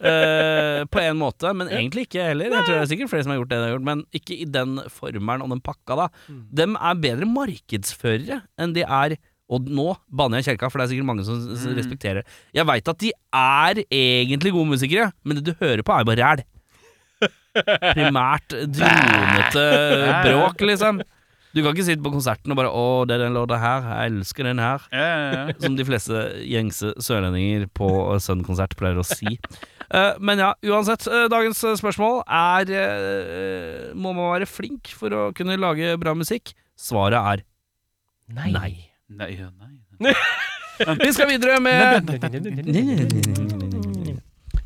A: Eh, på en måte, men egentlig ikke heller. Jeg tror det er sikkert flere som har gjort det de har gjort, men ikke i den formelen og den pakka, da.
B: Mm.
A: De er bedre markedsførere enn de er Og nå banner jeg i kjelka, for det er sikkert mange som s-
B: Mm.
A: s- respekterer det. Jeg veit at de er egentlig gode musikere, men det du hører på, er bare ræl. Primært dronete bråk, liksom. Du kan ikke sitte på konserten og bare 'Å, det er den låta her. Jeg elsker den her'.
C: Ja, ja, ja.
A: Som de fleste gjengse sørlendinger på Sun-konsert pleier å si. Eh, Men ja, uansett. eh, Dagens eh, spørsmål er eh, Må man være flink for å kunne lage bra musikk? Svaret er
B: Nei.
A: Nei.
C: Nei, ja, nei.
A: Vi skal videre med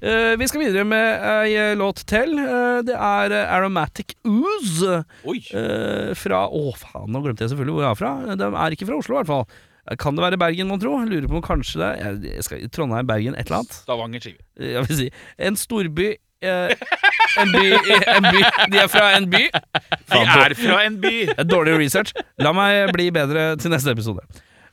A: Eh, Vi skal videre med ei eh, låt til. Eh, Det er eh, Aromatic Ooze
C: Oi!
A: eh, fra Å, faen, nå glemte jeg selvfølgelig hvor jeg er fra. De er ikke fra Oslo, i hvert fall. Kan det være Bergen, mon tro? Lurer på om kanskje det jeg- jeg skal, Trondheim, Bergen, et eller annet.
C: Stavanger skive.
A: jeg vil si, en storby eh, en, by, en by De er fra en by.
C: Vi er fra en by!
A: Det er Dårlig research. La meg bli bedre til neste episode.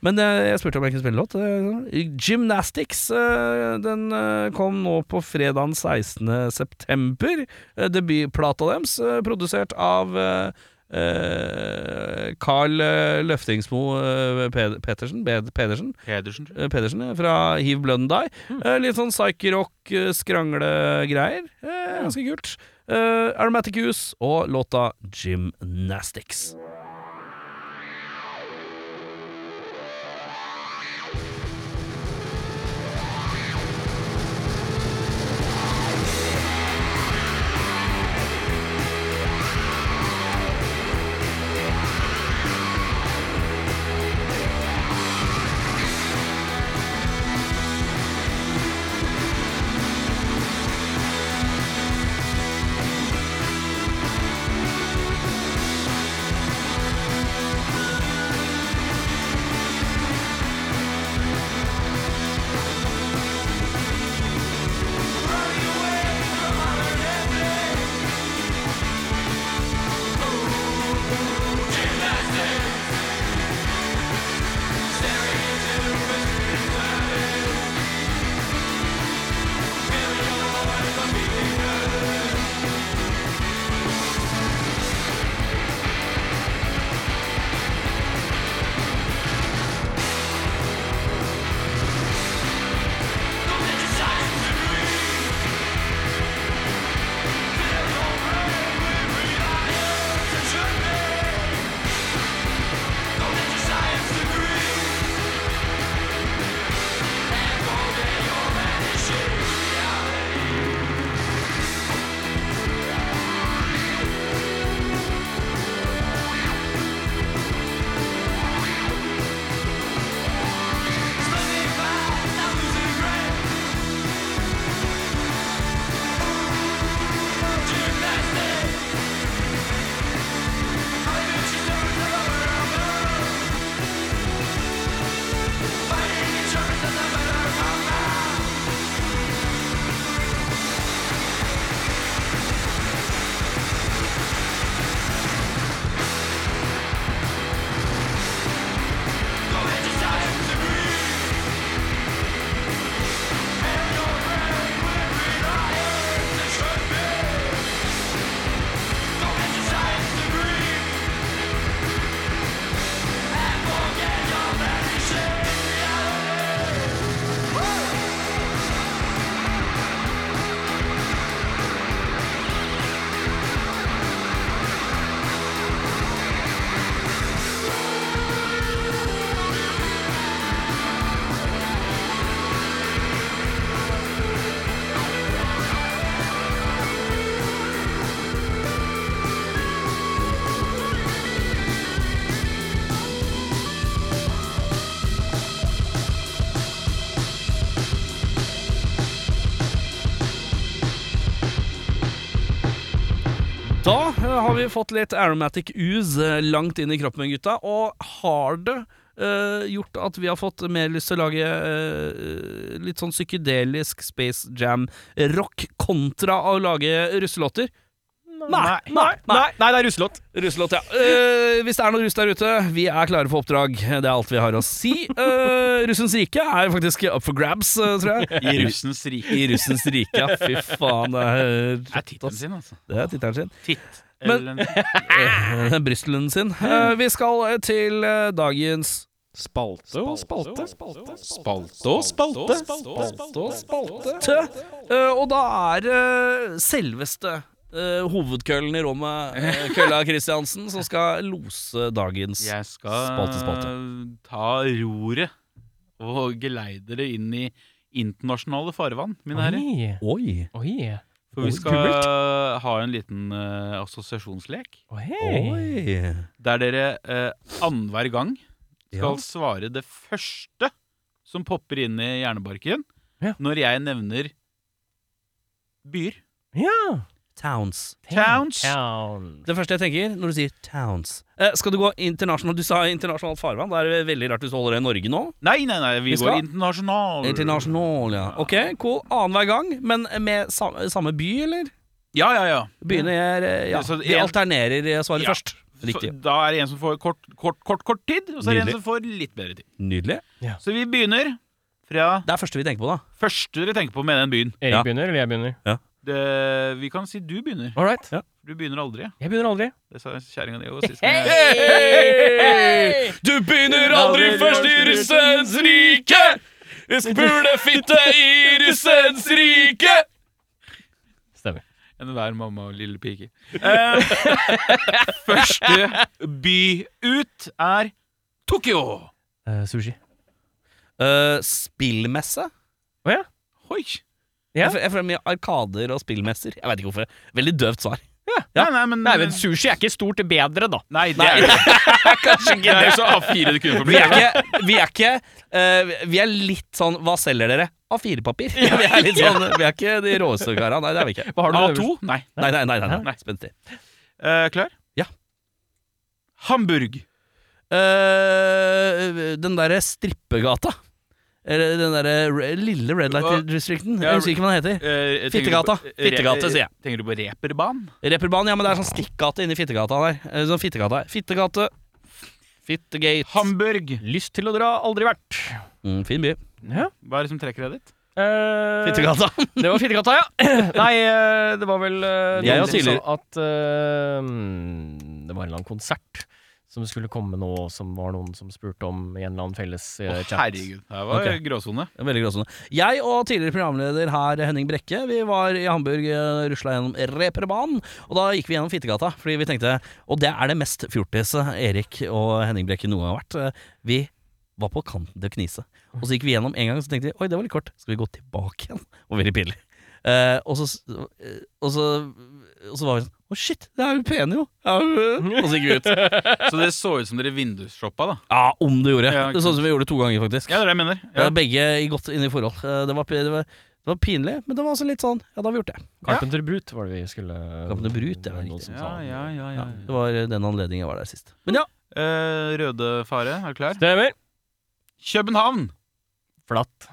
A: Men eh, jeg spurte om jeg kunne spille låt. Eh, Gymnastics eh, den eh, kom nå på fredagen 16. september. Eh, Debutplata deres, eh, produsert av eh, eh, Carl eh, Løftingsmo eh, Ped- Petersen, Bed Pedersen.
C: Pedersen, tror jeg.
A: Eh, Pedersen ja, fra Hiv Blood and Die. Eh, Litt sånn psykerock, eh, skranglegreier. Eh, Ganske kult. Eh, Aromatic Use og låta Gymnastics. Da eh, har vi fått litt aromatic ooze eh, langt inn i kroppen, gutta. Og har det eh, gjort at vi har fått mer lyst til å lage eh, litt sånn psykedelisk Space Jam-rock kontra å lage russelåter? Nei, nei, nei.
B: Nei, nei, det er russelåt.
A: Russelåt, ja. Eh, hvis det er noe russ der ute, vi er klare for oppdrag. Det er alt vi har å si. Eh, russens rike er faktisk up for grabs, eh, tror jeg.
C: I russens rike.
A: I russens rike, ja. Fy faen. Det
C: Det er
A: er,
C: tittelen sin, altså.
A: det er tittelen sin.
C: Titt.
A: Men-
C: Eller en-
A: Eh, Brystelen sin. Eh, vi skal eh, til eh, dagens
E: Spalte og spalte.
C: Spalte og spalte.
E: Spalte og spalte.
A: Eh, og da er eh, selveste eh, hovedkøllen i rommet, eh, Kølla Kristiansen, som skal lose dagens
C: Jeg skal
A: Spalte, spalte.
C: ta roret og geleide det inn i internasjonale farvann, mine herrer.
B: Oi.
A: Oi!
B: Oi.
C: For vi
A: Oi,
C: skal ha en liten eh, assosiasjonslek.
B: Oi.
C: Der dere uh, annenhver gang skal
A: Ja.
C: svare det første som popper inn i hjernebarken
B: Ja.
C: når jeg nevner byer.
B: Ja.
A: Towns.
C: Towns.
B: Towns.
A: Det første jeg tenker når du sier towns eh, Skal du gå internasjonalt? Du sa internasjonalt farvann. Det er veldig rart hvis du holder det i Norge nå.
C: Nei, nei, nei,
A: Vi
C: vi, går
A: skal-
C: internasjonal.
A: Internasjonal, ja. Ok, cool. Annenhver gang, men med sam samme by, eller?
C: Ja, ja, ja.
A: Begynner jeg eh, Ja,
C: Så det-
A: vi alternerer eh, svaret
C: Ja.
A: først. Riktig.
C: Så da er det en som får kort, kort, kort, kort tid, og så er
A: Nydelig.
C: det en som får litt bedre tid.
A: Nydelig.
C: Så vi begynner fra
A: Det er første vi tenker på, da.
C: første dere tenker på med den byen.
B: Erik
A: Ja.
B: begynner, eller jeg begynner?
C: Det, vi kan si du begynner.
B: All right.
C: Du begynner aldri.
B: Jeg begynner aldri.
C: Det sa kjerringa di jo sist. gang jeg-
A: Du begynner aldri først i russens rike! Spulefitte i russens rike!
B: Stemmer.
C: Enhver mamma og lille pike. Eh, første by ut er Tokyo.
B: Eh, sushi.
A: Eh, spillmesse?
B: Å ja.
C: Hoi.
B: Ja.
A: Jeg får- Jeg får mye arkader og spillmesser. Jeg veit ikke hvorfor. Veldig døvt svar.
C: Nei, nei, men,
B: Nei, men sushi er ikke stort bedre, da.
C: Nei, det er det.
A: Kanskje
C: Det er jo så A4 det kunne få
A: Vi
C: bli.
A: er ikke, vi er, ikke eh, vi er litt sånn Hva selger dere? A4-papir. Vi er litt sånn Vi er ikke de råeste kara. Nei, det er vi ikke.
B: Hva har du øverst?
C: A2? Nei.
A: Nei, nei, nei, nei,
C: Nei.
A: nei. Spenstig.
C: Eh, klar?
A: Ja.
C: Hamburg.
A: Eh, den derre strippegata. Eller den derre re- lille Red Light Districten.
C: Ja,
A: Jeg husker ikke hva den heter.
C: Eh, tenker du
A: Fittegata.
C: på-
A: Fittegata,
C: eh,
A: sier jeg.
C: Tenker du på reperbanen?
A: Reperbanen, ja, men det er sånn stikkgate inni Fittegata der. Eh, Sånn Fittegata. Fittegate. Fittegate.
C: Hamburg.
B: Lyst til å dra, aldri vært.
A: Mm, fin by.
B: Ja.
C: Hva er det som trekker deg dit?
B: Eh,
A: Fittegata.
B: Det var Fittegata, ja. Nei, eh, det var vel eh,
A: Jeg
B: noen
A: og
B: som sa
A: tidligere-
B: at eh, mm, det var en eller annen konsert som skulle komme nå, som var noen som spurte om i en eller annen felles
C: Å,
B: eh, chat.
C: herregud. Her var
A: Ok.
C: gråsone.
A: Det er Veldig gråsone. Jeg og tidligere programleder her, Henning Brekke, vi var i Hamburg, eh, rusla gjennom Reperbanen, og da gikk vi gjennom Fittegata, fordi vi tenkte Og det er det mest fjortise Erik og Henning Brekke noen gang har vært. Eh, Vi var på kanten til å knise. Og så gikk vi gjennom en gang, så tenkte vi oi, det var litt kort, skal vi gå tilbake igjen? Og veldig pinlig. Eh, og, så, eh, og, så, og så var vi sånn Å, shit, det er jo pene, jo! Ja, øh. Og så gikk vi ut.
C: Så det så ut som dere vindusshoppa, da.
A: Ja, om du gjorde.
C: Ja, ikke
A: det så ut som vi gjorde det to ganger, faktisk.
C: Ja, det er det jeg mener.
A: Ja.
C: Ja.
A: Begge i godt inne i forhold. Eh, Det var, pi- det, var, det var pinlig, men det var også litt sånn Ja, da har vi gjort det.
B: Carpenter Brut var det vi skulle
A: Carpenter Brut, det var
B: noen
A: riktig.
B: som sa
C: Ja,
B: det.
C: ja, ja,
A: Ja,
C: ja.
A: det var eh, den anledningen jeg var der sist. Men ja,
C: Eh, røde fare, er du klar?
B: Stemmer.
C: København.
B: Flatt.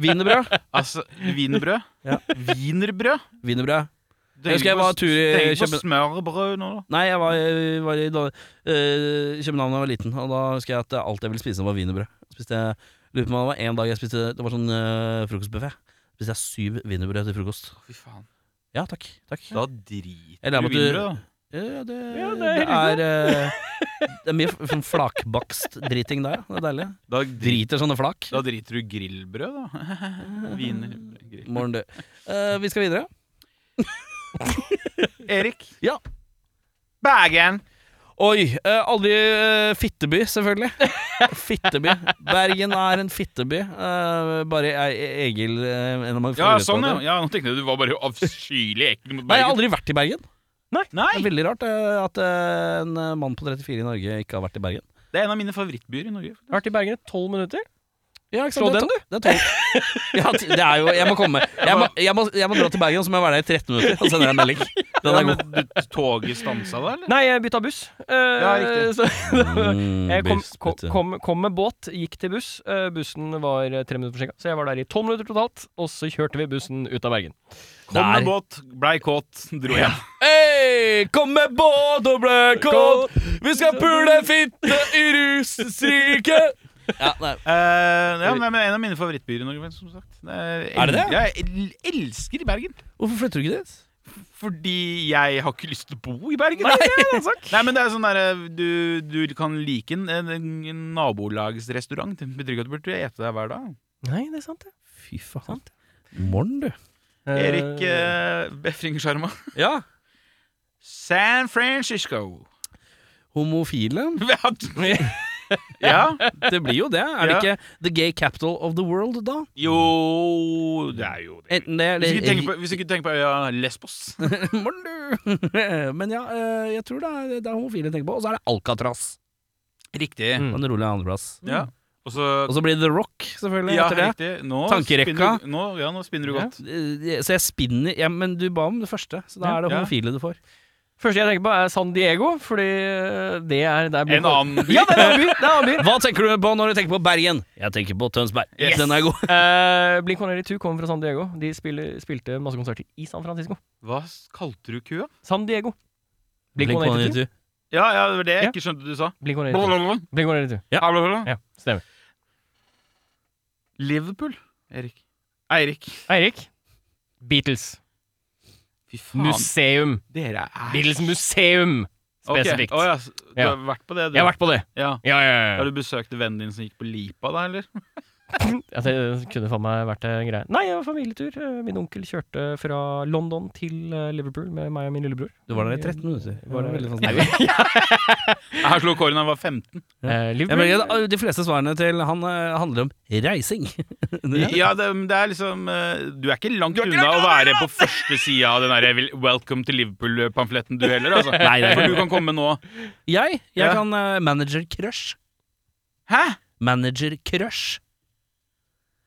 A: wienerbrød.
C: Altså, wienerbrød.
A: Ja.
C: Wienerbrød.
A: Wienerbrød.
C: Du
A: Jeg husker jeg var tur i
C: Tenk på
A: Køben-
C: smørbrød nå, da.
A: Nei, jeg var, jeg var i da- eh, København da jeg var liten, og da husker jeg at eh, alt jeg ville spise, var wienerbrød. Spiste jeg Lurer på om det var en dag jeg spiste Det var sånn uh, frokostbuffé. Spiste jeg syv wienerbrød til frokost.
C: Fy faen.
A: Ja, takk. takk.
C: Da driter
A: Eller
C: du
A: at du-
C: wienerbrød, da.
A: Ja, det,
B: Ja, det
A: det
B: er
A: er eh, Det er mye f- sånn flakbakst-driting der, ja. Det er deilig.
C: Da driter,
A: Driter sånne flak.
C: da driter du grillbrød, da. Wienerbrød. grill.
A: Morgen, du. Eh, vi skal videre.
C: Erik.
A: Ja.
C: Bergen.
A: Oi! eh, aldri eh, fitteby, selvfølgelig. fitteby. Bergen er en fitteby. eh, bare E- Egil eh, en av mange
C: Ja,
A: favoritter
C: sånn, ja.
A: av det.
C: ja. Nå tenkte jeg du var bare avskyelig ekkel mot
A: Nei, jeg har
C: Bergen.
A: aldri vært i Bergen. Det er
C: Nei,
A: veldig rart eh, at eh, en eh, mann på 34 i Norge ikke har vært i Bergen.
C: det er en av mine favorittbyer i Norge.
B: Jeg har vært i Bergen i tolv minutter.
A: Ja, ikke
B: Slå
A: Det er
B: den,
A: to- Det er tolv. ja, t- det er jo Jeg må komme. Jeg må, jeg må, jeg må dra til Bergen, og så må jeg være der i 13 minutter. Og sende deg en melding. Den
C: Ja,
A: er
C: men
A: god.
C: du, toget stansa da, eller?
B: Nei, jeg bytta buss. Eh,
C: riktig.
A: Mm.
B: så, jeg kom,
A: Buss,
B: kom,
A: bytte.
B: kom, kom med båt, gikk til buss. Eh, bussen var eh, tre minutter forsinka, så jeg var der i tolv minutter totalt. Og så kjørte vi bussen ut av Bergen.
C: Kom med
A: Der.
C: båt, blei kåt, dro hjem.
A: Hei, kom med båt og blø kåt. Vi skal pule fitte i rusrike. Ja, nei.
C: Eh, ja, nei, men En av mine favorittbyer i Norge, som sagt. Det
A: Er det det?
C: Jeg el elsker Bergen.
A: Hvorfor flytter du ikke dit?
C: Fordi jeg har ikke lyst til å bo i Bergen.
B: Nei,
C: Nei,
B: det er en sak.
C: men det er sånn der, du, du kan like en, en, en nabolagsrestaurant. Det betyr ikke at du burde ete der hver dag.
B: Nei, det er sant, det.
A: Fy faen. Morn, du.
B: Eh.
C: Erik eh, Befring Sjarma.
A: Ja.
C: San Francisco.
A: Homofile.
C: ja.
A: Det blir jo det. Er det
C: Ja.
A: ikke the gay capital of the world, da?
C: Jo Det er jo det.
A: Enten det
C: Hvis du ikke tenker
A: eller
C: på, hvis du ikke tenker på øya Lesbos.
A: Morn, du. Men ja, eh, jeg tror det er, det er homofile jeg tenker på. Og så er det Alcatraz.
C: Riktig.
B: Mm.
A: På en rolig andreplass.
C: Ja. Og så
A: Og så blir det The Rock, selvfølgelig.
C: Ja,
A: etter det.
C: riktig. Nå
A: Tankerekka.
C: spinner du- Nå, ja, nå spinner du
B: Ja.
C: godt.
A: Eh, Så jeg spinner ja, Men du ba om det første, så da
C: Ja.
A: er det
C: Ja.
A: homofile du får.
B: Første jeg tenker på, er San Diego, fordi eh, det er der bor
C: En annen by.
B: Ja, det er en annen by! Det er en annen by.
A: Hva tenker du på når du tenker på Bergen? Jeg tenker på Tønsberg.
C: Yes.
A: Den er god.
B: Eh, Blink-182 kommer fra San Diego. De spiller, spilte masse konserter i San Francisco.
C: Hva s- kalte du kua?
B: San Diego. Blink-182.
C: Ja, ja, det var det jeg
B: Ja.
C: ikke skjønte du sa.
B: Blink-182. Blink-182.
C: Blablabla.
B: Ja, stemmer.
C: Liverpool. Erik. Eirik.
B: Eirik. Beatles.
C: Fy faen.
B: Museum.
C: Dere er
B: Beatles museum,
C: Ok,
B: spesifikt.
C: å ja, s- Du
B: Ja.
C: har vært på det, du?
B: Jeg har vært på det.
C: Ja.
B: Ja, ja, ja.
C: Har du besøkt vennen din som gikk på Lipa, da, eller?
B: Ja, det kunne faen meg vært en greie. Nei, det var familietur. Eh, Min onkel kjørte fra London til eh, Liverpool med meg og min lillebror.
A: Du var der i 13 minutter. Det var veldig
B: Nei,
A: fascinerende.
C: Jeg har slått rekorden da jeg var 15.
B: Eh,
A: Jeg
B: Liverpool
A: mener, de fleste svarene til han eh, handler om reising.
C: Ja, det, men det er liksom eh, Du er ikke langt unna å være på første sida av den der vel- Welcome to Liverpool-pamfletten, du heller, altså.
A: Nei, det er
C: For
A: ikke
C: du kan komme nå.
A: Jeg, jeg
C: Ja.
A: kan eh, manager crush.
C: Hæ?
A: Manager crush.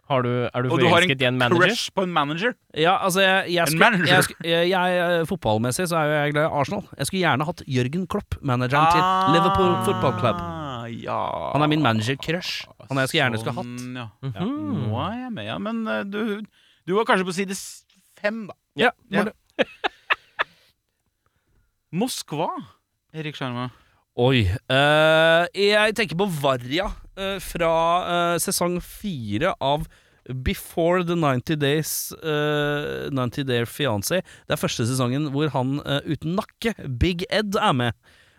B: Har du, er du
C: Og du har en
B: forelsket i en manager?
C: Crush på en manager?
A: Ja, altså jeg, jeg
C: En
A: skulle,
C: manager.
A: Jeg, skulle- jeg, jeg, eh, Fotballmessig så er jo jeg glad i Arsenal. Jeg skulle gjerne hatt Jørgen Klopp, manageren til Liverpool Football Club.
C: Ah, Ja.
A: Han er min manager-crush. Han er jeg skulle gjerne skulle hatt.
C: Sånn, ja.
B: Mhm.
C: Ja, Nå er jeg med, ja. Men eh, du, du var kanskje på side s- fem, da.
B: Ja,
C: Ja. Moskva, Erik Sjarma.
A: Oi. eh, jeg tenker på Varja eh, fra eh, sesong fire av Before the 90 Days eh, 90 Day Fiancé. Det er første sesongen hvor han eh, uten nakke, Big Ed, er med.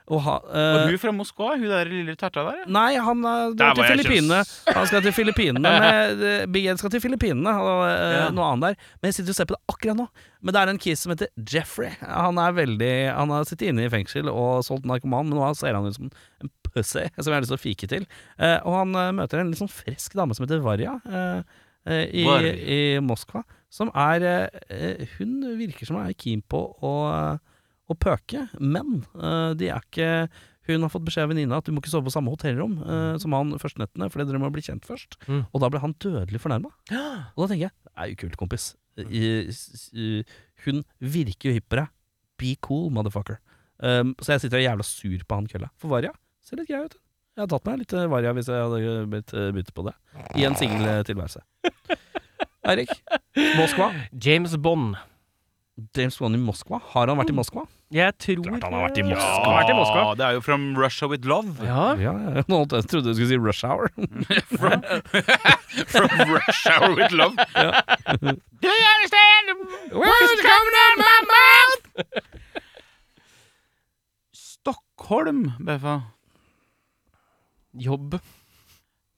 A: Og ha, eh,
C: Og hun fra Moskva, hun der lille terta der, ja.
A: Nei, han er
C: Der
A: drar til
C: var jeg
A: Filippinene. Han skal til Filippinene med eh, Big Ed skal til Filippinene og eh,
C: Ja.
A: noe annet der. Men jeg sitter og ser på det akkurat nå. Men det er en kis som heter Jeffrey. Han er veldig Han har sittet inne i fengsel og solgt narkoman, men nå ser han ut som en pussy som jeg har lyst til å fike til. Eh, og han eh, møter en litt sånn frisk dame som heter Varja eh, eh, i,
C: Varja.
A: i Moskva, som er eh, eh, Hun virker som hun er keen på å å pøke, men eh, de er ikke hun har fått beskjed av venninna at du må ikke sove på samme hotellrom eh, som han første nettene, fordi dere må bli kjent først.
B: Mm.
A: Og da ble han dødelig fornærma. Og da tenker jeg det er jo kult, kompis.
B: Mm.
A: I, s- i- hun virker jo hypp på deg. Be cool, motherfucker. Um, så jeg sitter og er jævla sur på han kølla. For Varja ser litt grei ut. Jeg hadde tatt meg litt eh, Varja hvis jeg hadde eh, blitt eh, byttet på det. I en singel eh, tilværelse. Eirik, Moskva.
B: James Bond.
A: James Bond i Moskva. Har han vært i Moskva?
B: Jeg tror
A: Klart han har vært i
B: eh,
A: Moskva.
B: han har vært i Moskva.
C: Det er jo From Russia With Love.
B: Ja.
A: Ja, ja. Nå holdt jeg- trodde du skulle si Rush Hour.
C: From Russia With Love. Do you understand what's coming out of my mouth? Stockholm, Beffa.
B: Jobb.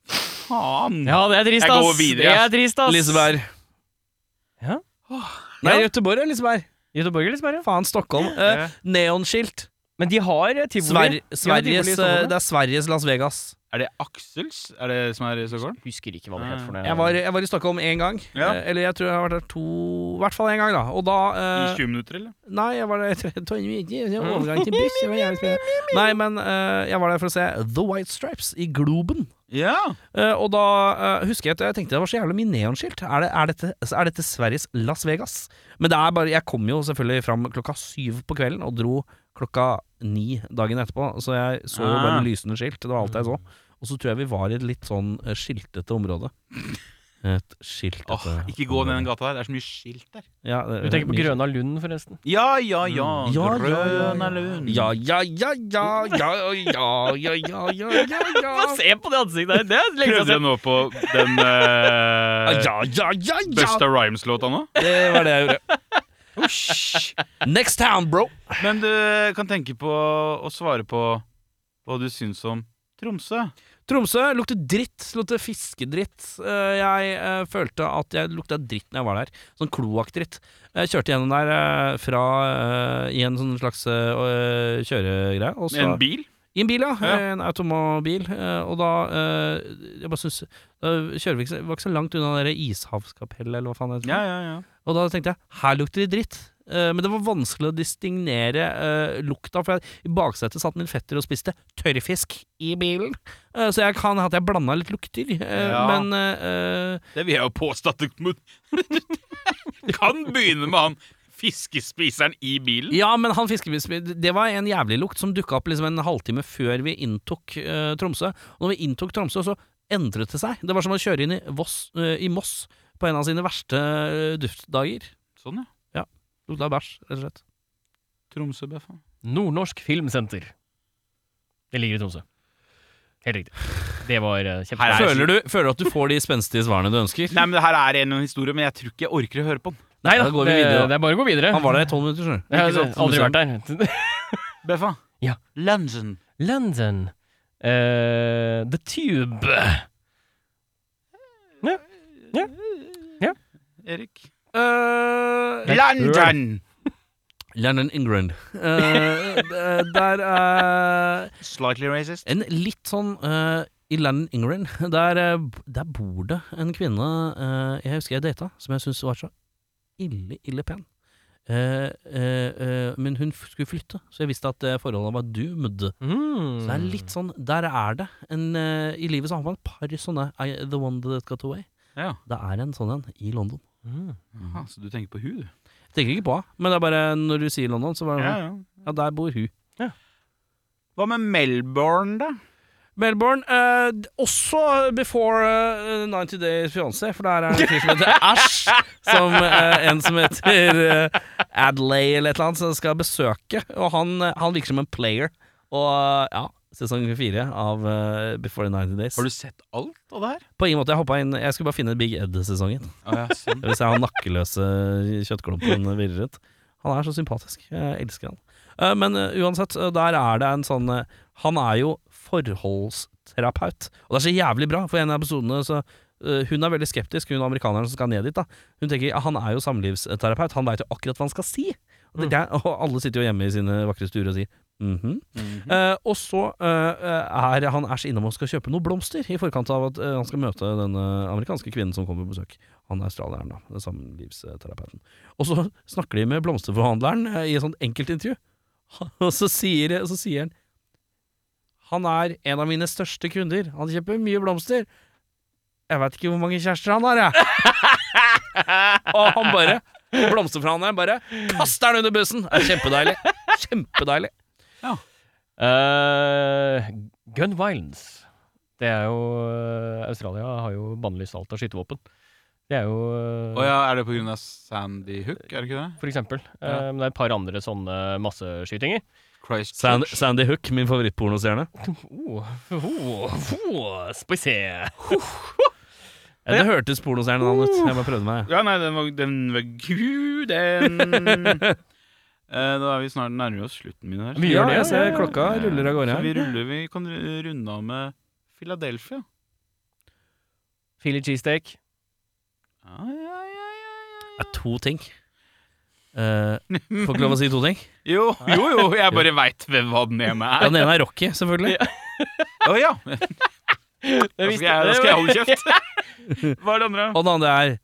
C: Faen.
B: Ja, det er trist,
C: Jeg
B: ass.
C: går videre,
B: det
C: ass.
B: er trist, ass.
A: Liseberg.
B: Ja?
A: Nei,
B: Ja.
A: Göteborg er Liseberg.
B: Göteborg, Liseberg, ja.
A: Faen, Stockholm. Eh,
C: Ja.
A: neonskilt.
B: Men de har eh,
A: Sver
B: tivoli. tivoli i
A: Sveriges,
B: Stockholm,
A: eh, det er Sveriges Las Vegas.
C: Er det Aksels? Er det som er i Stockholm?
B: Husker ikke hva det het for noe.
A: Jeg var, jeg var i Stockholm én gang.
C: Ja.
A: Eh, eller jeg tror jeg har vært der to I hvert fall én gang, da. Og da eh,
C: I 20 minutter, eller?
A: Nei, jeg var der i tre- to- det var Overgang til buss. det var jævlig spennende. Nei, men eh, jeg var der for å se The White Stripes i Globen.
C: Ja.
A: Eh, og da eh, husker jeg at jeg tenkte det var så jævlig mye neonskilt. Er, det, er, dette- er dette Sveriges Las Vegas? Men det er bare, jeg kom jo selvfølgelig fram klokka syv på kvelden og dro klokka ni dagen etterpå. Så jeg så jo bare
C: Ah.
A: lysende skilt. Det var alt jeg så. Og så tror jeg vi var i et litt sånn eh, skiltete område. Et skiltete
C: Åh, ikke gå ned den gata der. Det er så mye skilt der.
A: Ja, det-
B: Du tenker på
A: mye-
B: Grøna Lund, forresten.
C: Ja, ja, ja.
A: Mm. Ja, ja, ja, ja.
C: Grøna Lund.
A: Ja, ja, ja, ja, ja, ja, ja, ja, ja, ja, ja.
B: se på det ansiktet der! Det er
C: Prøvde dere nå på den eh,
A: Ja, ja, ja, ja.
C: Busta Rhymes-låta nå?
A: Det var det jeg gjorde. Next town, bro!
C: Men du kan tenke på å svare på hva du syns om Tromsø.
A: Tromsø lukter dritt. Lukter fiskedritt. Eh, Jeg eh, følte at jeg lukta dritt når jeg var der. Sånn kloakkdritt. Jeg kjørte gjennom der eh, fra eh, i en sånn slags eh, kjøregreie. og så-
C: Med en bil.
A: I en bil, ja.
C: Ja.
A: En automobil. eh, Og da eh, Jeg bare syns Kjørevik var ikke så langt unna det der Ishavskapellet, eller hva faen det heter.
C: Ja, ja, ja.
A: Og da tenkte jeg her lukter det dritt. Eh, men det var vanskelig å distignere eh, lukta, for jeg, i baksetet satt min fetter og spiste tørrfisk i bilen. Eh, så jeg kan ha at jeg blanda litt lukter, eh,
C: Ja.
A: men eh,
C: Det vil jeg jo påstå at du du kan begynne med han fiskespiseren i bilen.
A: Ja, men han fiskebispen Det var en jævlig lukt som dukka opp liksom en halvtime før vi inntok eh, Tromsø. Og når vi inntok Tromsø, så endret det seg. Det var som å kjøre inn i, Voss, eh, i Moss på en av sine verste eh, duftdager.
C: Sånn, ja.
A: Lukta bæsj, rett og slett.
C: Tromsø, beffa.
B: Nordnorsk Filmsenter. Det ligger i Tromsø. Helt riktig. Det var eh,
C: Her er-
B: kjempebra.
A: Føler du, føler du at du får de spenstige svarene du ønsker?
C: Nei, men det her er en historie, men jeg tror ikke jeg orker å høre på den.
B: Nei da,
A: Da går vi
B: det,
A: videre, da.
B: det er bare å gå videre.
A: Han var der i tolv minutter, skjønner du.
B: Jeg
C: ikke
B: har
C: sant, som
B: aldri
C: du
B: vært der.
C: Beffa.
B: Ja.
C: Lunchen.
B: London. Eh, the Tube.
C: Erik.
A: Eh,
C: London!
A: Lennon Ingrid. Eh, d- der eh,
C: Slightly racist.
A: En litt sånn eh, I Lennon Ingrid, der, eh, b- der bor det en kvinne eh, jeg husker jeg data, som jeg syntes var så ille, ille pen. Eh, eh, eh, men hun f- skulle flytte, så jeg visste at eh, forholdet var doomed. Så det er
B: Mm.
A: litt sånn Der er det. En, eh, I livet så har man et par sånne I, The One That Got Away.
C: Ja.
A: Det er en sånn en i London.
B: Mm.
C: Aha, så du tenker på hun, du.
A: Tenker ikke på henne, men det er bare når du sier London, så bare ja,
C: ja.
A: der bor hun.
C: Hva med Melbourne, da?
A: Melbourne, eh, d- også before eh, 90 Days Fiancé, for der er det en fyr som heter Ash, som eh, en som heter eh, Adlay eller et eller annet, som skal besøke. Og han, eh, han virker som en player. Og ja, sesong fire av eh, Before 90 Days.
C: Har du sett alt av det her?
A: På ingen måte, jeg hoppa inn Jeg skulle bare finne Big Ed-sesongen.
C: Å ja, sånn.
A: Hvis jeg har nakkeløse kjøttklumpen virrer ut. Han er så sympatisk. Jeg elsker han. Eh, Men eh, uansett, eh, der er det en sånn eh, Han er jo forholdsterapeut, og det er så jævlig bra, for i en av episodene så eh, hun er veldig skeptisk, hun amerikaneren som skal ned dit. da Hun tenker ja, han er jo samlivsterapeut, han veit jo akkurat hva han skal si. Og, det, er- og alle sitter jo hjemme i sine vakre stuer og sier mhm. Eh, og så eh, er han Ash innom og skal kjøpe noen blomster i forkant av at eh, han skal møte denne amerikanske kvinnen som kommer på besøk. Han er australieren, da. Den samlivsterapeuten. Og så snakker de med blomsterforhandleren eh, i et sånt enkeltintervju, og så sier, så sier han Han er en av mine største kunder. Han kjøper mye blomster. Jeg veit ikke hvor mange kjærester han har, jeg. og han bare Blomsterforhandleren bare kaster han under bussen! Det er kjempedeilig. Kjempedeilig.
B: Eh, gun violence. Det er jo eh, Australia har jo bannlyst alt av skytevåpen. Det er jo eh,
C: Å ja, er det på grunn av Sandy Hook, er det ikke det?
B: For eksempel. Eh, Men det er et par andre sånne masseskytinger.
A: Sand,
C: Christchurch.
A: Sandy Hook, min favorittpornostjerne.
B: Oh, oh, oh, spicy.
A: Ja, det hørtes pornostjernenavn ut. Jeg bare prøvde meg.
C: Ja, nei, den var, den var Gud, den Eh, Da er vi snart nærmer vi oss slutten min her.
B: Vi gjør det, jeg ser
A: klokka
C: Så vi ruller, vi kan ru- runde av med Philadelphia.
B: Philly cheesesteak.
C: Ja, ja, ja, ja,
A: Det
C: ja,
A: er to ting. Eh, får ikke lov å si to ting.
C: ja. Jo, jo, jo, jeg bare veit hva den ene
A: Ja,
C: er.
A: den ene er Rocky, selvfølgelig.
C: Å ja! Da skal jeg, da skal jeg holde kjeft. Hva er det andre?
A: Og den andre er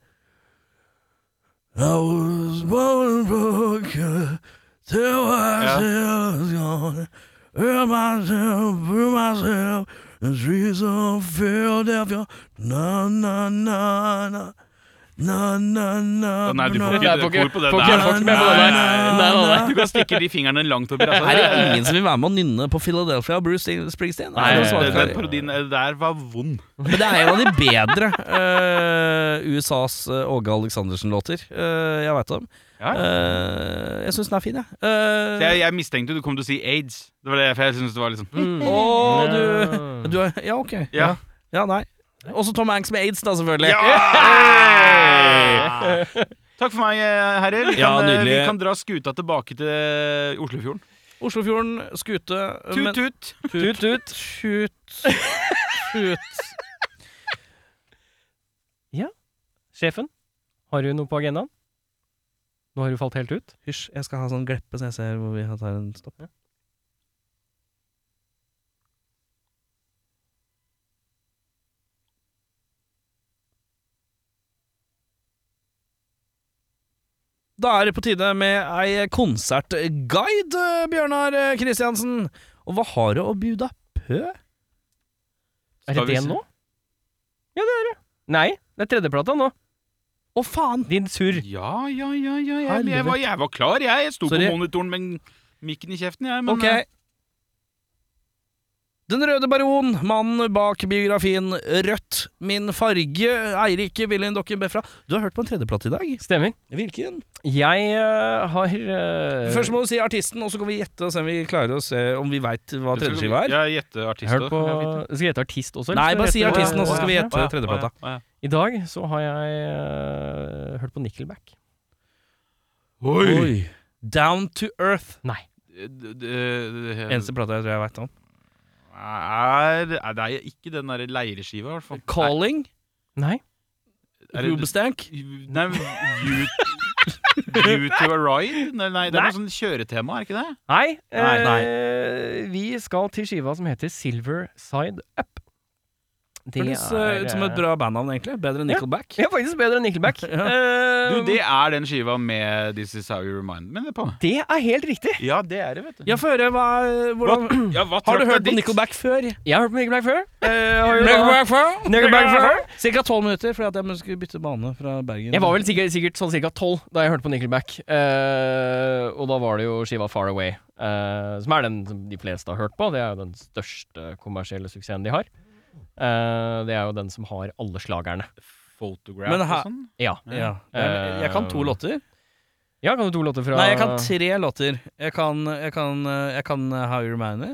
A: I was born broken, till I
C: Ja.
A: was gone. Hear myself, hear myself, the streets of Philadelphia. Na, na, na, na. Na, na, na,
C: Å, nei, du
A: na.
C: får ikke,
B: Nei, får ikke-
C: kor på det
B: får ikke-
C: der.
A: får ikke med på det der.
C: Nei, nei, nei,
A: Nei, nei, nei.
C: Du kan stikke de fingrene langt opp i
A: Er
C: rasshølet.
A: det ingen som vil være med å nynne på Philadelphia og Bruce Springsteen?
B: Nei,
A: Er det noen som har
C: Den
A: klart
C: den
A: det?
C: parodien der var vond.
A: Men det er en av de bedre eh, USAs eh, Åge Aleksandersen-låter. eh, jeg veit om.
C: Ja.
A: Eh, jeg syns den er fin, jeg.
C: Så
A: Eh,
C: Jeg, jeg mistenkte du kom til å si aids. Det var derfor jeg syntes det var litt sånn
A: Å, du, du er, Ja, ok.
C: Ja.
A: ja nei. Også Tom Hanks med aids, da, selvfølgelig.
C: Ja! Takk for meg, eh, herrer. Vi kan,
A: Ja,
C: eh,
A: nydelig.
C: vi kan dra skuta tilbake til eh, Oslofjorden.
A: Oslofjorden, skute eh, men-
C: Tut-tut!
A: Tut, tut. Tut. Tut.
B: Sjefen, har du noe på agendaen? Nå har du falt helt ut.
A: Hysj, jeg skal ha sånn gleppe så jeg ser hvor vi tar en stopp. Da er det på tide med ei konsertguide, Bjørnar Kristiansen. Og hva har du å bjuda pø?
B: Er det
C: Skal vi
B: det
C: se?
B: nå? Ja, det er det. Nei, det er tredjeplata nå.
A: Å, faen!
B: Din surr.
C: Ja, ja, ja, ja. Jeg, jeg, var, jeg var klar, jeg. Jeg sto
A: Sorry.
C: på monitoren med mikken i kjeften, jeg. Men
A: Ok.
C: eh,
A: Den røde baron, mannen bak biografien Rødt, min farge, Eirik Willin Dokken Befra. Du har hørt på en tredjeplate i dag.
B: Stemmer.
A: Hvilken?
B: Jeg eh, har eh,
A: Først må du si artisten, og så kan vi gjette og se om vi klarer å se om vi veit hva
C: jeg tror-
A: tredjeskiva er.
C: Jeg gjetter artist.
B: hørt
C: da.
B: på
C: Jeg vet ikke.
B: Skal jeg hete artist også? eller
A: Nei,
B: skal jeg
A: bare si
B: hete-
A: artisten,
C: Å,
A: og så
C: ja,
A: skal vi
C: ja,
A: gjette
C: ja, ja,
A: tredjeplata.
C: ja, ja.
B: I dag så har jeg eh, hørt på Nickelback.
C: Oi!
A: Down to Earth.
B: Nei.
C: D- d- d-
A: Eneste plata jeg tror jeg veit om.
C: er, er Det er ikke den derre leireskiva, i hvert fall.
A: Calling.
B: Nei.
C: Er det-
A: Rubestank.
C: Nei, you, you to a ride? Nei, nei det er noe sånn kjøretema, er ikke det?
B: Nei.
A: Nei, nei.
B: eh, vi skal til skiva som heter Silver Side Up. Det
A: Høres eh, ut som et
B: eh,
A: bra bandnavn, egentlig. Bedre enn Nickelback.
B: Ja, faktisk bedre enn Nickelback.
A: Ja. Um.
B: Eh,
C: Du, det er den skiva med This Is How You Remind Me det på.
B: det er helt riktig.
C: Ja, det er det, vet du.
A: Ja, få høre. Hva, hvordan,
C: Ja, hva
A: har
C: trakk
A: du
C: deg
A: hørt på
C: dit?
A: Nickelback før?
B: Jeg har hørt på Nickelback før. Eh, har jo da-
A: Nickelback før?
B: Nickelback før.
A: Cirka tolv minutter, fordi at jeg skulle bytte bane fra Bergen.
B: Jeg var vel sikkert, sikkert sånn ca. tolv da jeg hørte på Nickelback. Eh, og da var det jo skiva Far Away, eh, som er den som de fleste har hørt på. Det er jo den største kommersielle suksessen de har. Eh, det er jo den som har alle slagerne.
C: Photograph
A: Men
C: og
A: her-
C: sånn?
B: Ja.
A: ja. Jeg, jeg kan to låter.
B: ja, kan du to låter fra
A: Nei, jeg kan tre låter. Jeg kan, jeg kan, jeg kan uh, How You Remind Me.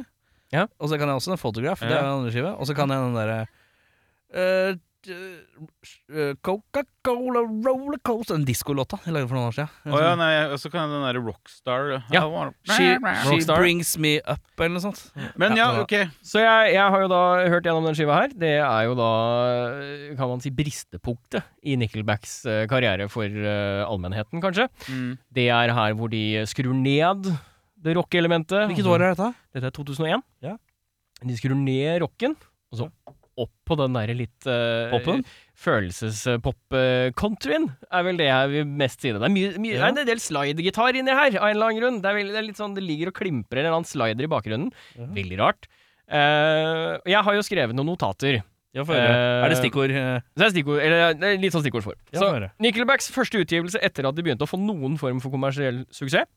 B: Ja.
A: Og så kan jeg også den Photograph, det
C: Ja.
A: er den andre skiva. Og så kan jeg den derre eh, eh, Coca-Cola Rollercoaster Den discolåta jeg lagde for noen år siden.
C: Å ja, nei, og så kan jeg den derre Rockstar
B: Ja.
C: I wanna-
A: She, she
B: Rockstar.
A: Brings Me Up, eller noe sånt.
C: Men ja,
A: Ja.
C: ok.
B: Så jeg, jeg har jo da hørt gjennom den skiva her. Det er jo da, kan man si, bristepunktet i Nickelbacks eh, karriere for eh, allmennheten, kanskje.
C: Mm.
B: Det er her hvor de skrur ned det rockeelementet.
A: Hvilket år er dette?
B: Dette er 2001.
A: Ja.
B: De skrur ned rocken, og så opp på den derre litt eh,
A: Poppen?
B: Følelsespop-countryen er vel det jeg vil mest si. Det Det er, mye, mye,
A: Ja.
B: det er en del slidegitar inni her, av en eller annen grunn. Det er, veldig, det er litt sånn, det ligger og klimprer en eller annen slider i bakgrunnen.
A: Ja.
B: Veldig rart. Eh, jeg har jo skrevet noen notater.
A: Ja, få høre.
B: Eh,
A: er det stikkord? eh?
B: Så det er stikkord, eller det er litt sånn stikkordsform.
A: Ja,
B: så
A: få høre.
B: Nickelbacks første utgivelse etter at de begynte å få noen form for kommersiell suksess.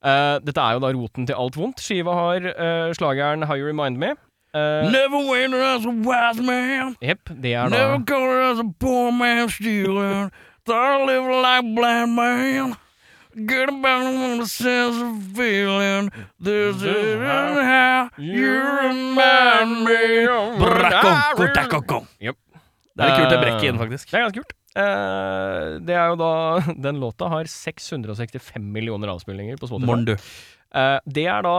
B: Eh, dette er jo da roten til alt vondt. Skiva har eh, slageren How You Remind Me. Eh,
A: Never winner as a wise man.
B: Jepp, det er da
A: Never caught as a poor man stealing. Thought I lived like a blind man. Get about on the sense of feeling. This isn't how you remind me.
B: Jep.
A: Det er litt kult å brekke
B: Eh,
A: igjen, faktisk.
B: Det er ganske kult. Eh, det er jo da Den låta har 665 millioner avspillinger på Spotify.
A: Morn, du.
B: Eh, det er da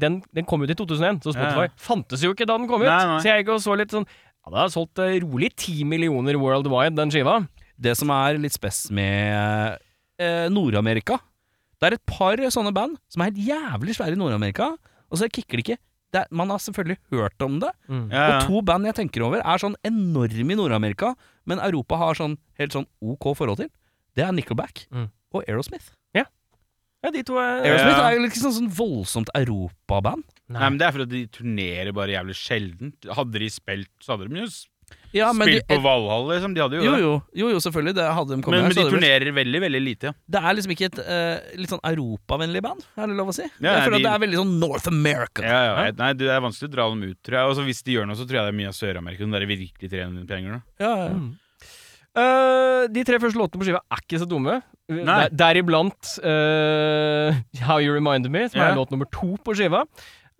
B: den, den kom ut i 2001, så Spotify
C: Ja, ja.
B: fantes jo ikke da den kom ut.
C: Nei, nei.
B: Så jeg gikk og så litt sånn Ja, det har solgt eh, rolig 10 millioner worldwide, den skiva.
A: Det som er litt spess med eh, Nord-Amerika Det er et par sånne band som er helt jævlig svære i Nord-Amerika, og så kicker de ikke. Det er, man har selvfølgelig hørt om det,
C: Ja,
A: Og
C: ja.
A: to band jeg tenker over er sånn enorme i Nord-Amerika, men Europa har sånn helt sånn ok forhold til. Det er Nickelback
B: Mm.
A: og Aerosmith.
B: Ja, de to er
C: Ja.
A: Aerosmith er jo liksom sånn, sånn voldsomt europaband.
C: Nei, men Det er fordi de turnerer bare jævlig sjelden. Hadde de spilt, så hadde de jo s-
A: Ja, men
C: spilt
A: de,
C: på Valhall, liksom. De hadde jo,
A: jo,
C: det.
A: jo, jo, jo, selvfølgelig. Det hadde de kommet
C: Men,
A: her, så
C: men de
A: hadde det blitt-
C: turnerer veldig, veldig lite, ja.
A: Det er liksom ikke et eh, litt sånn europavennlig band, er det lov å si?
C: Ja,
A: jeg føler
C: de-
A: at det er veldig sånn North America.
C: ja, ja. jeg- Eh, Nei, det er vanskelig å dra dem ut, tror jeg. Og så hvis de gjør noe, så tror jeg det er mye av Sør-Amerika som dere virkelig tjener penger nå.
A: Ja, ja.
B: Eh, de tre første låtene på skiva er ikke så dumme.
C: Nei.
B: Der- Deriblant eh, How You Remind Me, som
C: Ja.
B: er låt nummer to på skiva.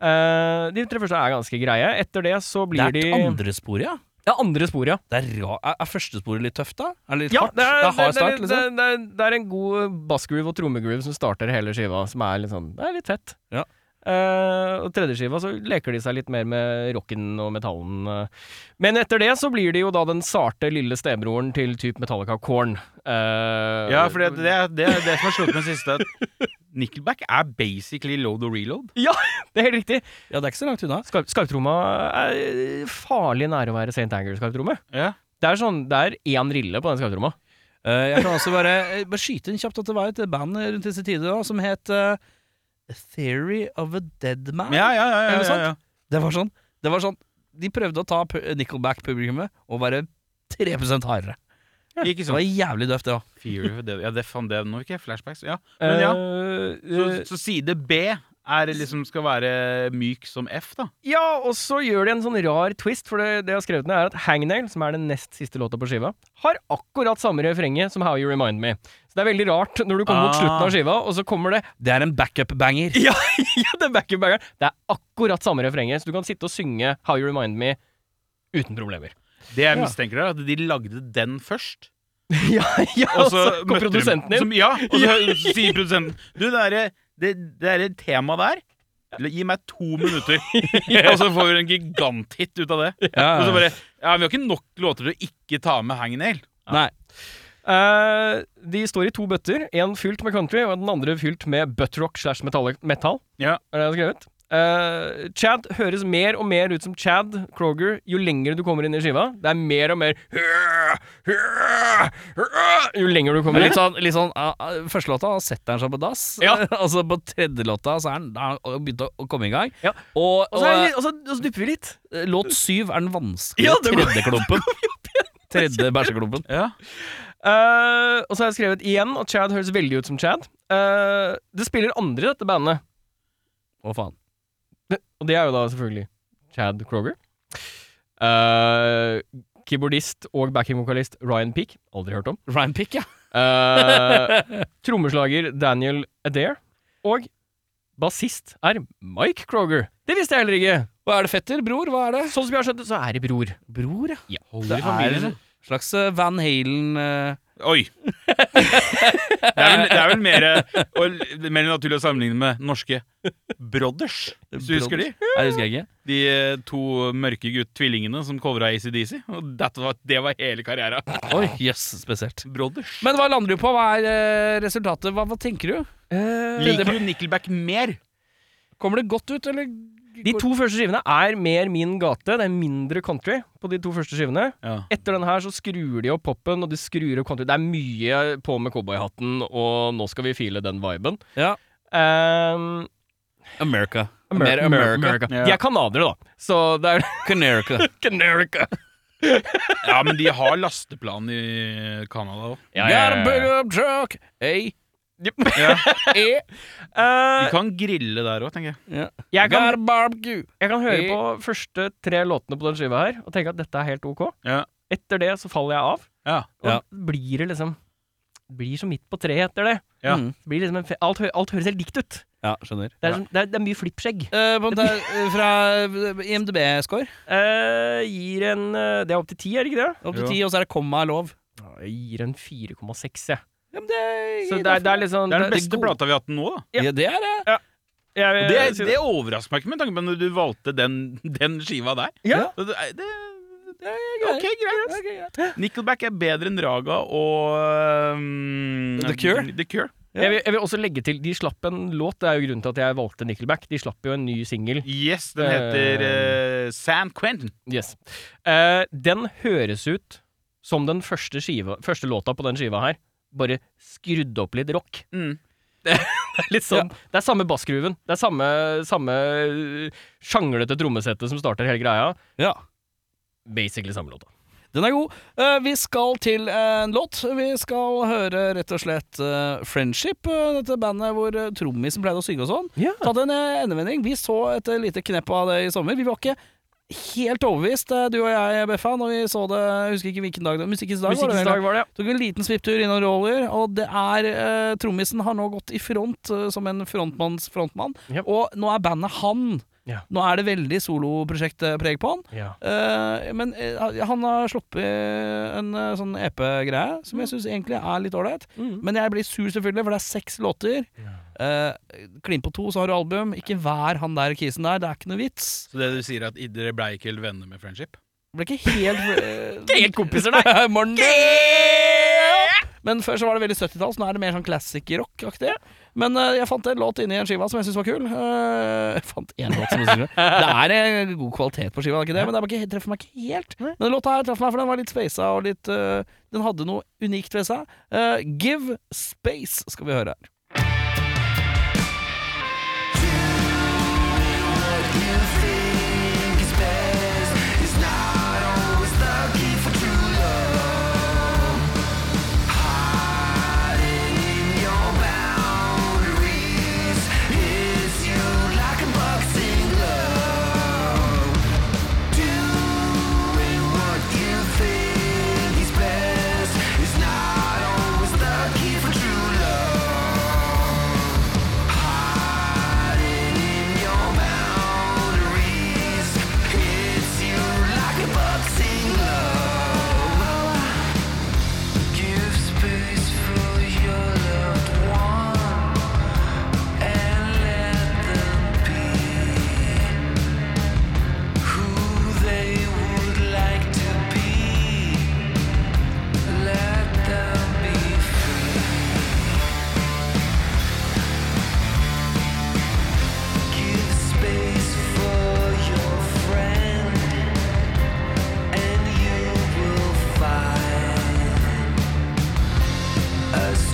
B: Eh, de tre første er ganske greie. Etter det så
A: Det
B: blir
A: er et
B: de
A: andre spor, ja.
B: Det er andre sporet, ja.
A: Det er, ra er, er første sporet litt tøft, da? Er det litt
B: Ja,
A: hardt?
B: det er, det,
A: hard
B: er,
A: start,
B: det,
A: liksom?
B: er, det, er, det er en god bassgroove og trommegroove som starter hele skiva, som er litt sånn Det er litt fett.
A: Ja.
B: Eh, og tredje skiva så leker de seg litt mer med rocken og metallen. eh. Men etter det så blir de jo da den sarte lille stebroren til typ Metallica Corn. Eh,
C: Ja, for det, det, er- det, er det som har slått meg sist, er at Nickelback er basically load og reload.
B: det er helt riktig.
A: Ja, det er ikke så langt unna.
B: Skarp, skarptromma er farlig nære å være St. Anger-skarptromme.
C: Ja.
B: Det er sånn, det er én rille på den skarptromma.
A: Eh, jeg kan også bare, eh, bare skyte inn kjapt at det var et band rundt disse tider da, som het eh, Theory of a Dead Man.
C: Ja, ja, ja,
A: Er
C: ja,
A: det
C: ja,
A: sant?
C: ja.
A: Det var sånn, det var sånn De prøvde å ta pu- Nickelback-publikummet og være 3 hardere.
C: Ikke
A: Det var
C: sant.
A: jævlig døft, det òg.
C: Fear of a Dead- Ja, det fant det nå, ikke jeg flashbacks. Ja. Men ja, så,
B: Eh,
C: så side B er liksom skal være myk som F, da.
B: Ja, og så gjør de en sånn rar twist, for det, det jeg har skrevet ned, er at Hangnail, som er den nest siste låta på skiva, har akkurat samme refrenget som How You Remind Me. Så det er veldig rart når du kommer mot
C: Ah.
B: slutten av skiva, og så kommer det
A: Det er en backup-banger.
B: Ja, ja det er backup bangeren! Det er akkurat samme refrenget, så du kan sitte og synge How You Remind Me uten problemer.
C: Det jeg
B: Ja.
C: mistenker, er at de lagde den først.
B: ja, ja,
C: Og så
B: kom
C: møtte de-
B: produsenten din.
C: Som, ja, og så sier produsenten Du, det derre det, det derre temaet der Gi meg to minutter, og så får vi en giganthit ut av det. Og så bare Ja, vi har ikke nok låter til å ikke ta med Hangnail.
A: Nei.
B: Eh, de står i to bøtter, en fylt med country, og den andre fylt med buttrock slash metallic- metal.
C: Ja.
B: Er det jeg har skrevet? Eh, Chad høres mer og mer ut som Chad Kroger jo lenger du kommer inn i skiva. Det er mer og mer Jo lenger du kommer
A: Men
B: inn.
A: litt sånn, litt sånn ah, ah, Første låta da setter han seg på dass.
B: Ja.
A: og så på tredje låta så er han, da har han begynt å, å komme i gang.
B: Ja.
A: Og,
B: Og
A: og,
B: så, er det litt, og så, og så dupper vi litt.
A: eh, låt syv er den vanskelige
B: Ja, det går-
A: tredje klumpen. Tredje bæsjeklumpen.
C: Ja.
B: Eh, og så har jeg skrevet igjen at Chad høres veldig ut som Chad. Eh, det spiller andre i dette bandet.
A: Å, faen.
B: Og det er jo da selvfølgelig Chad Kroger. Eh, keyboardist og backingvokalist Ryan Peake. Aldri hørt om.
A: Ryan Pick, ja.
B: Eh, trommeslager Daniel Adair. Og bassist er Mike Kroger. Det visste jeg heller ikke!
A: Hva er det, fetter? Bror? Hva er det?
B: Sånn som jeg har skjønt det, så er det bror.
A: Bror, ja.
C: Holder
A: Det
C: i
A: er
C: familien.
A: en slags eh, Van Halen eh,
C: Oi. Det er vel, det er vel mer, og, mer naturlig å sammenligne med norske Brothers, hvis du husker de.
A: Nei, husker jeg ikke.
C: De eh, to mørke gutt tvillingene som covra ACDC. Og det var, det var hele karriera.
A: Oi, jøss, spesielt.
C: Brothers.
A: Men hva lander du på? Hva er eh, resultatet? Hva, hva tenker du?
C: Liker du Nickelback mer?
A: Kommer det godt ut, eller?
B: De to første skivene er mer min gate. Det er mindre country på de to første skivene.
C: Ja.
B: Etter den her så skrur de opp popen, og de skrur opp country. Det er mye på med cowboyhatten, og nå skal vi file den viben.
A: Ja.
B: Ehm,
A: America.
B: Amer-
A: Mer
B: Amer-
A: America.
C: Ja.
B: De er canadiere, da. Så det er
A: Canerica.
B: Canerica.
C: Ja, men de har lasteplan i Canada òg.
B: Ja,
A: Got a big up truck. Hey. Eh.
B: E,
C: De kan grille der òg, tenker jeg.
B: jeg,
A: Got
B: kan,
A: a barbecue.
B: jeg kan
C: E.
B: høre
A: Eh.
B: på første tre låtene på den skiva her og tenke at dette er helt ok.
C: Ja.
B: Etter det så faller jeg av,
C: Ja.
B: og
A: Ja.
B: blir det liksom Blir så midt på treet etter det.
C: Ja.
A: Mm.
B: Blir liksom en fe alt, hø alt høres helt likt ut.
A: ja skjønner.
B: Det er, som, det er, det er mye flippskjegg.
A: Eh, på en der, eh, fra IMDb-score
B: Eh, gir en eh, Det er opp til ti, er det ikke det?
A: opp til
C: Jo.
A: ti, og så er det komma er lov.
B: Ja, Jeg gir en 4,6, jeg.
A: Ja, men det,
B: Så det er, det Eh, er liksom
C: Det er den beste
B: gode-
C: plata vi har hatt nå, da.
A: ja, det er eh, det.
B: Jeg vil
C: Og det,
B: si
C: det overrasker meg ikke, med tanke på at du valgte den, den skiva der.
B: Ja.
C: Så Det, det, det er OK, greit. Nickelback er bedre enn Raga og um,
A: The Cure?
C: The Cure.
A: Ja.
B: Jeg, vil, jeg vil også legge til, de slapp en låt, det er jo grunnen til at jeg valgte Nickelback. De slapp jo en ny singel.
C: Yes, den heter eh, San Quentin.
B: Yes. Eh, den høres ut som den første, skiva, første låta på den skiva her. Bare skrudd opp litt rock.
C: Mm.
B: Litt sånn. Det er samme bassgrooven. Det er samme, samme øh, sjanglete trommesettet som starter hele greia.
A: Ja.
B: Basically samme låta.
A: Den er god. Eh, vi skal til eh, en låt. Vi skal høre rett og slett eh, Friendship, eh, dette bandet hvor uh, trommisen pleide å synge og sånn. Ta den eh, endevending. Vi så et eh, lite knepp av det i sommer. Vi var ikke helt overbevist, eh, du og jeg, Beffa, når vi så det Jeg husker ikke hvilken dag det var. Musikkens dag, var det.
B: Musikkens
A: vel?
B: dag var det,
A: Tok en liten svipptur innom Roller, og det er eh, Trommisen har nå gått i front eh, som en frontmanns frontmann,
B: Yep.
A: og nå er bandet han
B: Ja.
A: Nå er det veldig soloprosjektpreg på han.
B: Ja.
A: Eh, men eh, han har sluppet en eh, sånn EP-greie som jeg syns egentlig er litt ålreit.
B: Mm.
A: Men jeg blir sur, selvfølgelig, for det er seks låter. Eh, Klim på to, så har du album. Ikke vær han der kisen der. Det er ikke noe vits.
C: Så det du sier, er at i- dere blei ikke helt venner med friendship?
A: Det ble ikke helt eh,
B: Ikke helt kompiser, nei.
A: Morten. Men før så var det veldig 70-tall, så nå er det mer sånn classic rock-aktig. Men eh, jeg fant en låt inni en skiva som jeg syntes var kul. Eh, jeg fant en låt som jeg synes var Det er eh, god kvalitet på skiva, det er ikke det, men det er bare ikke, treffer meg ikke helt. Men den låta her traff meg, for den var litt spasa og litt eh, Den hadde noe unikt ved seg. Eh, Give Space skal vi høre her.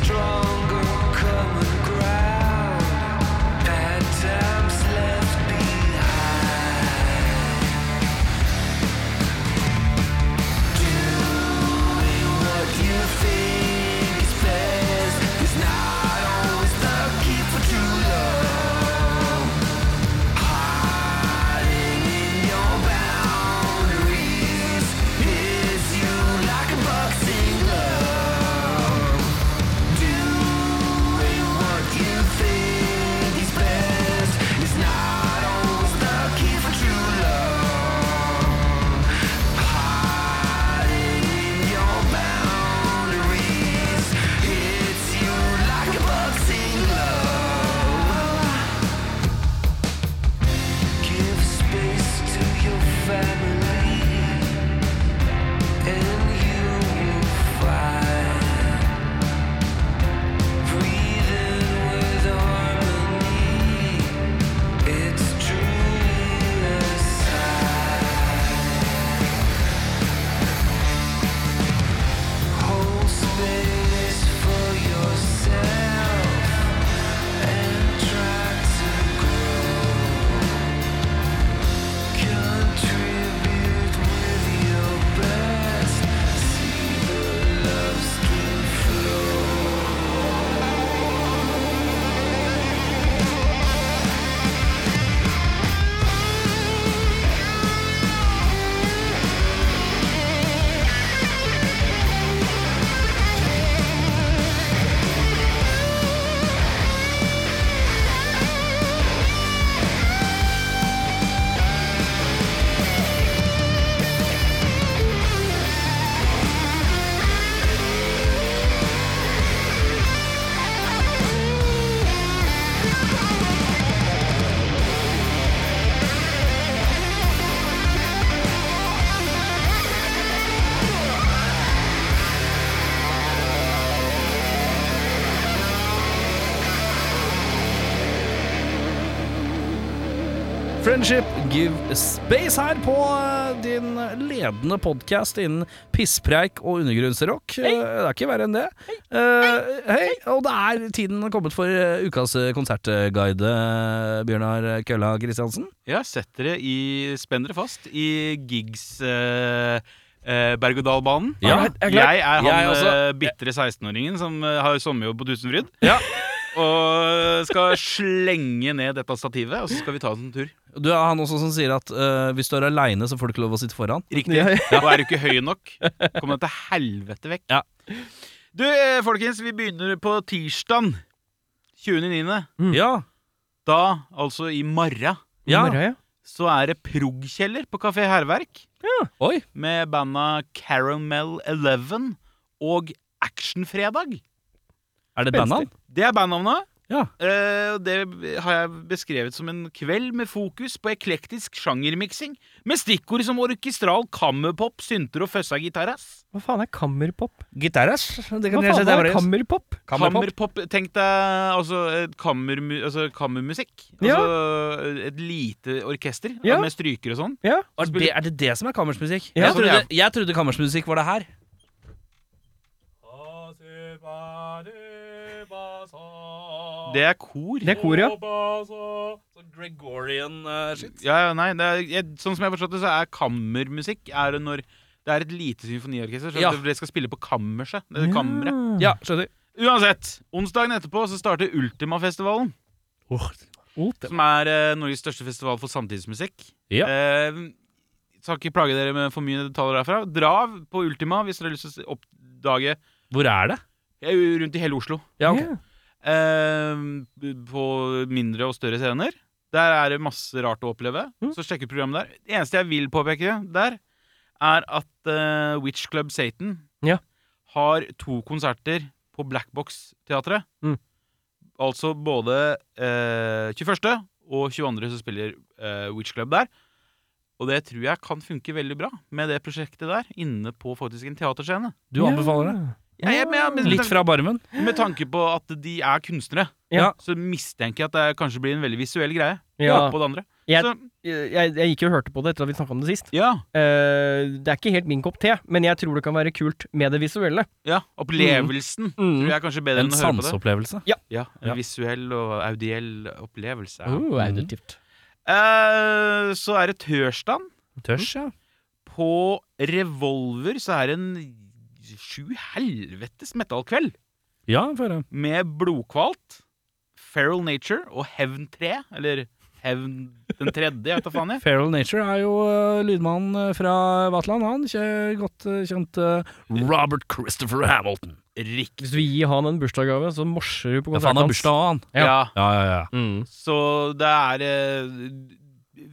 D: Stronger common ground, bad times left behind. Give space to your family, and you will find breathing with harmony. It's true Hold space for yourself and try to grow. Contribute with your best. See the love stream flow.
A: Friendship Give Space her på eh, din ledende podkast innen pisspreik og undergrunnsrock. Eh, Det er ikke verre enn det. Eh, hei, og det er tiden kommet for eh, ukas eh, konsertguide, eh, Bjørnar Kølla Kristiansen.
C: Ja, sett dere i Spenn dere fast i gigs eh, eh, berg-og-dal-banen.
A: Ja,
C: jeg,
A: jeg er
C: er
A: klar.
C: han
A: Jeg
C: jeg
A: også.
C: bitre 16-åringen som eh, har sommerjobb på Tusenfryd. Og skal slenge ned dette stativet, og så skal vi ta oss en tur.
A: Du er han også som sier at eh, hvis du er aleine, så får du ikke lov å sitte foran.
C: Riktig. Og er du ikke høy nok, kom deg til helvete vekk.
A: Ja.
C: Du, eh, folkens, vi begynner på tirsdag 29.
A: Ja,
C: Da, altså i morgen,
A: Ja.
B: Morgen, ja.
C: så er det prog-kjeller på Kafé Herverk.
A: Oi.
C: Med banda Caramel Eleven og Actionfredag.
A: Er det bandnavn?
C: Det er bandnavnet.
A: Ja.
C: Eh, og det har jeg beskrevet som en kveld med fokus på eklektisk sjangermiksing, med stikkord som orkestral kammerpop, synter og føssa gitaras.
B: Hva faen er kammerpop?
A: Gitaras. Det
B: Hva faen er kammerpop?
C: Kammerpop, tenk deg altså, eh, kammermu altså kammermusikk.
B: Ja.
C: Altså eh, et lite orkester
B: Ja.
C: med stryker og sånn.
B: Ja.
A: Er det, er det det som er kammersmusikk?
B: Ja.
A: Jeg, trodde, jeg trodde kammersmusikk var det her.
C: Det er kor.
B: Det er kor, ja.
A: Gregorian shit.
C: Ja, ja, nei, det er, jeg, sånn som jeg har forstått det, så er kammermusikk er det når det er et lite symfoniorkester. Så
A: Ja.
C: det- det skal spille på kammerset. Det er kammeret.
A: Ja, skjønner.
C: Uansett, onsdagen etterpå så starter Ultimafestivalen.
B: Olt.
C: Som er eh, Norges største festival for samtidsmusikk.
A: Ja.
C: Eh, skal ikke plage dere med for mye detaljer derfra. Dra på Ultima hvis dere har lyst til å oppdage
A: Hvor er det?
C: Jeg er jo rundt i hele Oslo.
A: Ja, ok.
B: Ja.
C: Eh, på mindre og større scener. Der er det masse rart å oppleve.
B: Mm.
C: Så sjekk ut programmet der. Det eneste jeg vil påpeke der, er at eh, Witch Club Satan
B: Ja.
C: har to konserter på Black Box-teatret.
B: Mm.
C: Altså både eh, 21. og 22. så spiller eh, Witch Club der. Og det tror jeg kan funke veldig bra med det prosjektet der, inne på faktisk en teaterscene.
A: Du anbefaler det?
C: Ja, jeg- men- ja, men-
A: Litt fra barmen?
C: Med tanke på at de er kunstnere,
B: Ja.
C: så mistenker jeg at det kanskje blir en veldig visuell greie.
B: Ja.
C: På det andre.
B: Jeg-
C: Så,
B: Eh, Jeg, jeg gikk jo og hørte på det etter at vi snakka om det sist.
C: ja,
B: Eh, det er ikke helt min kopp te, men jeg tror det kan være kult med det visuelle.
C: ja, opplevelsen
B: Mm.
A: Mm.
C: tror jeg er kanskje bedre
A: En
C: enn å høre på det.
A: sanseopplevelse?
C: Ja, en
A: Ja.
C: visuell og audiell opplevelse. ja.
A: Mm.
B: Oh, auditivt.
C: Eh, så er det tørsdag.
A: Mm. Tørs, ja.
C: På Revolver så er det en sju helvetes metallkveld.
A: Ja, får jeg høre.
C: Med Blodkvalt, Feral Nature og Hevn 3. Eller Hevn den tredje, jeg vet da faen jeg.
A: Feral Nature er jo uh, lydmannen eh, fra Vatland, han. Kje, godt eh, kjent eh, Robert Christopher Hamilton.
C: Riktig.
B: Hvis du gir han en bursdagsgave, så morser du på
A: Ja, for han
B: konserten
A: har bursdag òg, han.
B: Ja.
C: ja.
A: Ja, ja, ja.
B: Mm.
C: Så det er eh,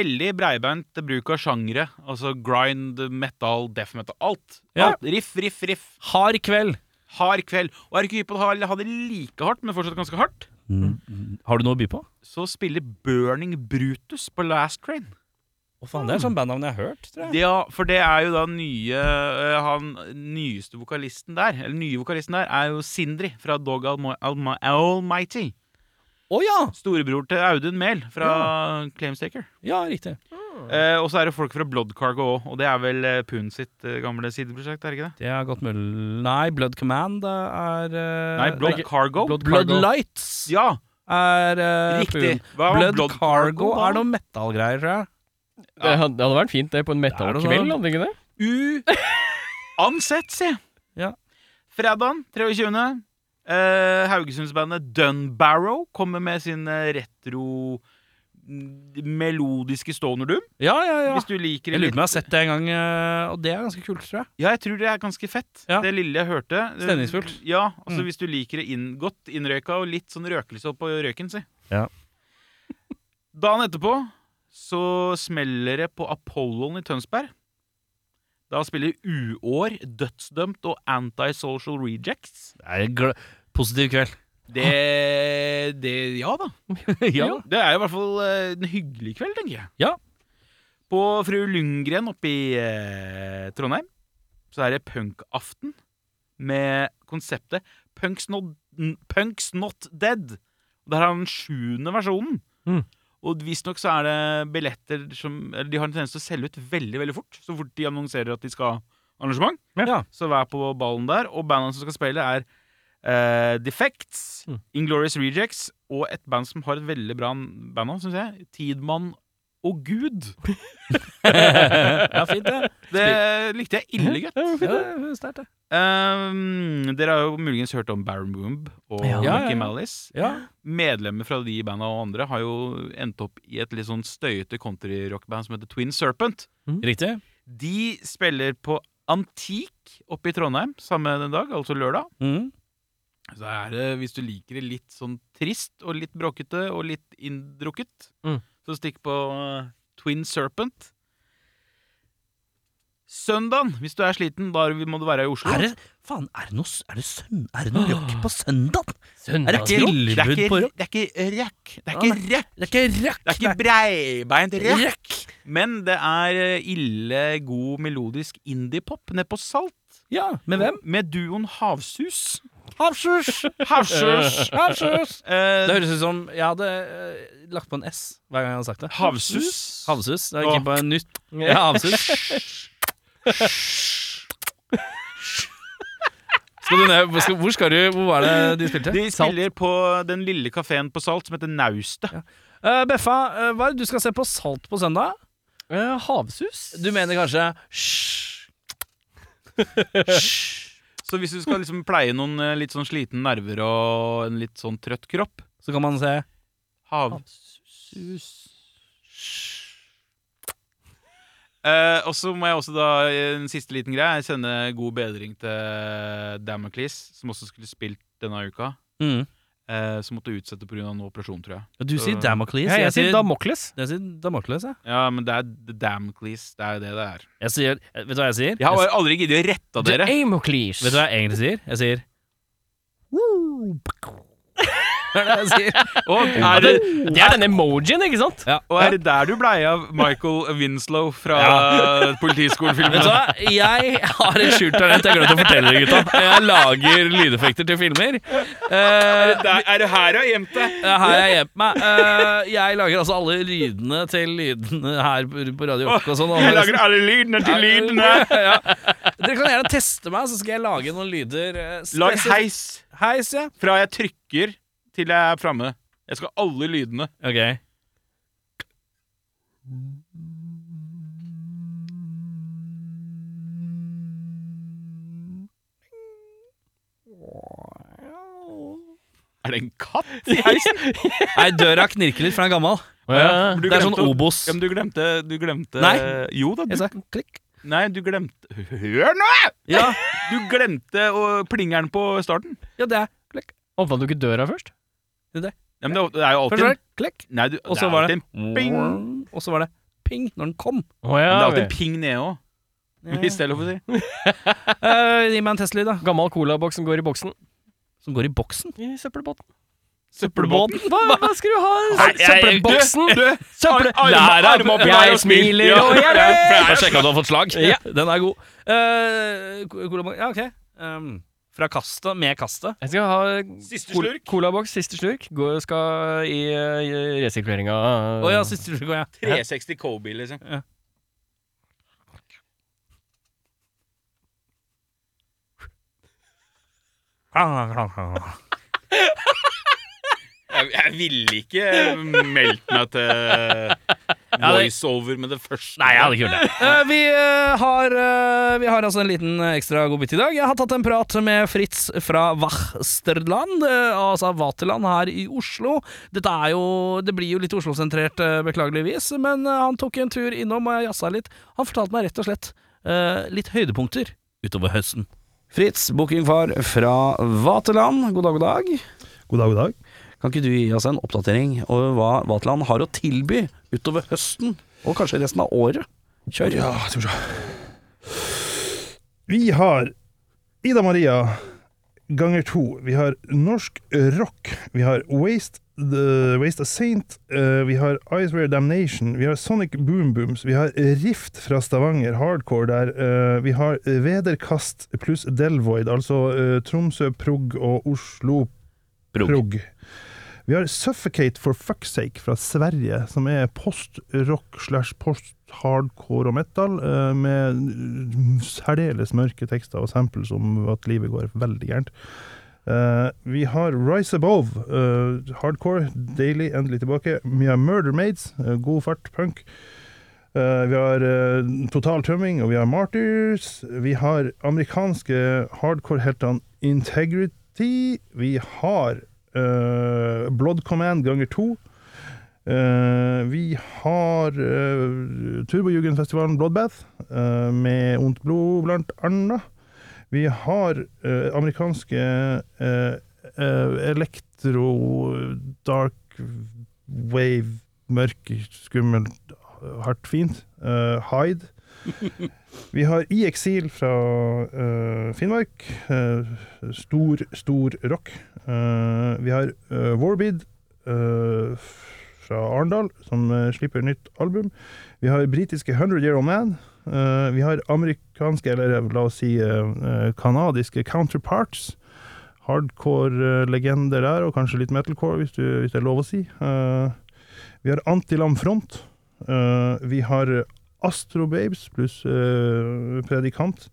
C: veldig breibeint bruk av sjangre. Altså grind, metal, death metal. Alt.
A: Ja.
C: alt. Riff, riff, riff.
A: Hard kveld.
C: Hard kveld. Og er du ikke hypp på å ha ha det like hardt, men fortsatt ganske hardt,
A: Har du noe å by på?
C: så spiller Burning Brutus på Last Train.
A: Å faen, Det er sånn bandnavn jeg har hørt, tror jeg.
C: Ja, for det er jo da nye eh, Han nyeste vokalisten der, eller nye vokalisten der, er jo Sindri fra Dog Almo- Alma- Almighty.
A: Å ja!
C: Storebror til Audun Mehl fra Claimstaker.
A: Ja, riktig.
C: Eh, og så er det folk fra Blood Cargo òg, og det er vel eh, Poon sitt eh, gamle sideprosjekt? er det ikke det?
A: Det er godt mulig Nei, Blood Command eh, er eh,
C: Nei, Blood
A: er-
C: Cargo.
A: Blood,
B: Cargo.
A: Lights
C: Ja,
A: er eh,
C: riktig!
A: pun.
C: Hva var
A: Blood, Cargo
C: da?
A: er noe metallgreier, tror jeg.
B: Det hadde det hadde vært fint det på en
A: Det er
B: metallkveld,
A: det
B: hadde ikke det?
C: Uansett, si!
A: Ja.
C: Fredagen 23. Eh, Haugesundsbandet Dunbarrow kommer med sin eh, retro mm, melodiske stoner-doom.
A: Ja, ja, ja.
C: Hvis du liker
A: Jeg lurer på
C: litt-
A: om jeg har sett det en gang, eh, og det er ganske kult, tror jeg.
C: Ja, jeg tror det er ganske fett.
A: Ja.
C: Det lille jeg hørte.
A: Stemningsfullt.
C: Ja, altså
A: Mm.
C: Hvis du liker det inn, godt innrøyka og litt sånn røkelse oppå røyken, si.
A: Ja.
C: Dagen etterpå så smeller det på Apollon i Tønsberg. Da spiller Uår, Dødsdømt og Antisocial Rejects.
A: Det er en gl positiv kveld.
C: Det, det Ja da.
A: ja.
C: Ja, Det er i hvert fall eh, en hyggelig kveld, tenker jeg.
A: Ja.
C: På Fru Lundgren oppe i eh, Trondheim så er det punkaften med konseptet Punks Not, n- Punks Not Dead. Og Der har han den sjuende versjonen.
B: Mm.
C: Og visstnok så er det billetter som eller De har en tendens til å selge ut veldig veldig fort. Så fort de annonserer at de skal ha arrangement.
A: Ja.
C: Så vær på ballen der. Og bandene som skal spille, er eh, Defects,
B: Mm.
C: Inglorious Rejects og et band som har et veldig bra bandnavn, syns jeg. Tidmann og Gud.
A: ja, fint, det.
C: Det likte jeg ille godt.
A: Ja, det er sterkt, det.
C: Um, dere har jo muligens hørt om Baron Boomb og
B: Ja.
C: Mickey
A: Ja, ja, ja.
C: Malice.
A: Ja.
C: Medlemmer fra de banda og andre har jo endt opp i et litt sånn støyete countryrockband som heter Twin Serpent.
A: Riktig.
C: De spiller på Antik oppe i Trondheim samme den dag, altså lørdag.
A: Mm.
C: Så er det, hvis du liker det litt sånn trist og litt bråkete og litt inndrukket,
B: Mm.
C: Så stikk på eh, Twin Serpent. Søndagen, hvis du er sliten, da må du være i Oslo.
A: Er det, faen, er det noe, s- er det søn, er det noe rock på søndag? Er det
B: Søndagsrock?
C: Det er
A: Ah. Mm. tilbud
C: ikke
A: på rock?
C: det er ikke rack. Det er
A: Ja,
C: ikke
A: nei.
C: rack.
A: Det er ikke rock!
C: Det er ikke breibeint rack. Men det er eh, ille god melodisk indiepop nede på Salt.
A: Ja, Med hvem?
C: Med duoen Havsus.
A: Havsus!
C: Havsus!
A: Havsus! Det
C: Eh,
A: høres ut som jeg hadde eh, lagt på en S hver gang jeg hadde sagt det.
C: Havsus.
A: Havsus. Jeg
C: Åh.
A: gikk på en nytt ja, havsus. Skal du ned skal, Hvor skal du Hvor var det de spilte?
C: De spiller på den lille kafeen på Salt som heter Naustet.
A: Eh, Beffa, eh, hva er det du skal se på Salt på søndag?
B: Eh, havsus?
A: Du mener kanskje Hysj.
C: Så hvis du skal liksom pleie noen eh, litt sånn slitne nerver og en litt sånn trøtt kropp
A: Så kan man se
C: Havsus Eh, og så må jeg også da eh, En siste liten greie Sende god bedring til Damocles Som også skulle spilt denne uka
A: mm.
C: eh, Som måtte utsette på grunn av en operasjon, tror jeg
A: Du sier
C: Så-
A: Damocles.
B: Ja, jeg sier Damokles.
A: jeg sier Damocles, jeg.
C: Ja, men det er The Damocles Det er jo det det er
A: jeg sier, vet du hva jeg sier?
C: Jeg har aldri giddet å rette dere
B: Damokles.
A: Vet du hva jeg egentlig sier? Jeg sier Det er det jeg sier.
C: og
B: Ja,
C: er,
B: det,
C: det,
B: det er den emojien, ikke sant?
A: Ja.
C: og er det der du blei av Michael Winslow Fra
A: Vet du
C: politiskolefilmen
A: hva? Jeg har et skjult talent. Jeg glemte å fortelle dere, gutta. Jeg lager lydeffekter til filmer. Eh,
C: Der- Er det her jeg har gjemt det?
A: her har jeg gjemt meg. Eh, jeg lager altså alle lydene til lydene her på på Radio Rock og sånn. og-
C: Jeg lager alle lydene til lydene
A: ja. Dere kan gjerne teste meg, så skal jeg lage noen lyder. eh,
C: Lag
A: spesif-
C: heis
A: Heis, ja.
C: Fra jeg trykker til jeg er framme. Jeg skal ha alle lydene.
A: Ok.
C: Er det en katt i heisen?
A: Nei, døra knirker litt, for den er gammel.
B: Ja.
C: Du
A: Det er sånn
C: glemte å-
A: Obos.
C: Ja, men du glemte, du glemte
A: Nei.
C: Jo da, du,
A: Jeg sa klikk.
C: nei, du glemte Hør nå!
A: Ja,
C: Du glemte å, plingeren på starten.
A: ja det er klikk.
B: Åpna du ikke døra først?
C: Ja, men det, det er jo
A: Først var
C: alltid
A: det klikk,
C: Nei, du,
A: og
C: det
A: så
C: er
A: var
C: alltid
A: det
C: en ping.
A: Og så var det ping når den kom.
B: Å
C: Men det er alltid
B: ja.
C: en ping nede òg, hvis det er lov å si.
A: Eh, gi meg en Tesla-lyd, da.
B: Gammel colaboks som går i boksen.
A: Som går i boksen.
B: I søppelbåten.
C: Søppelbåten.
B: Hva, hva skal du ha?
C: Nei, jeg-
B: Søppelboksen?
C: Du,
B: Søppel...
C: Arm-
B: Der er-
C: arm opp i meg og
B: Jeg
C: smil.
B: smiler
C: Ja.
B: og jeg ler.
A: Jeg sjekka om du har fått slag.
B: Ja.
A: Den er god. Eh, ko- cola- ja, ok. Um, fra kastet, med kastet.
B: Jeg skal ha
C: Siste
B: col-
C: slurk.
B: colaboks, siste slurk. Gå, skal i, i resirkuleringa.
A: Å ja, siste slurk, ja.
C: 360 Kobe, liksom. Jeg, jeg ville ikke meldt meg til voiceover med det første.
A: Nei, jeg hadde ikke gjort det. Eh, vi, eh, har, eh, vi har altså en liten eh, ekstra godbit i dag. Jeg har tatt en prat med Fritz fra Wachsterland, eh, altså Vaterland her i Oslo. Dette er jo, det blir jo litt Oslo-sentrert, eh, beklageligvis, men eh, han tok en tur innom og jeg jazza litt. Han fortalte meg rett og slett eh, litt høydepunkter utover høsten. Fritz, bookingfar fra Vaterland, god dag, god dag.
F: God dag, god dag.
A: Kan ikke du gi oss en oppdatering over hva Vaterland har å tilby utover høsten, og kanskje resten av året? Kjør.
F: Ja, skal vi se. Vi har Ida Maria ganger to. Vi har norsk rock. Vi har Waste, the, Waste a Saint. eh, vi har Icewear Damnation. Vi har Sonic Boom Booms. Vi har Rift fra Stavanger, hardcore der. eh, vi har Vederkast pluss Delvoid, altså eh, Tromsø prog og Oslo
A: Prog.
F: prog. Vi har Suffocate for fuck's sake fra Sverige, som er post-rock slash post-hardcore og metal, eh, med eh, særdeles mørke tekster og samples om at livet går veldig gærent. Eh, vi har Rise Above, eh, hardcore, daily, endelig tilbake. Vi har Murder Maids, eh, god fart, punk. Eh, vi har eh, Total Tømming, og vi har Martyrs. Vi har amerikanske hardcore-heltene Integrity. Vi har eh, Blood Command ganger to. Eh, vi har uh, Turbojugendfestivalen Bloodbath, eh, med Ondt blod blant annet. Vi har eh, amerikanske eh, eh, elektro dark wave mørk, skummel, hardt, fint. Eh, Hyde. Vi har I eksil fra eh, Finnmark. Eh, stor, stor rock. Eh, vi har eh, Warbid eh, fra Arendal, som eh, slipper nytt album. Vi har britiske 100 Year Old Man. Eh, vi har amerikanske, eller eh, la oss si eh, kanadiske counterparts. Hardcore-legender der, og kanskje litt metalcore, hvis, du, hvis det er lov å si. Eh, vi har Antilam Front. Eh, vi har Astrobabes pluss eh, Predikant.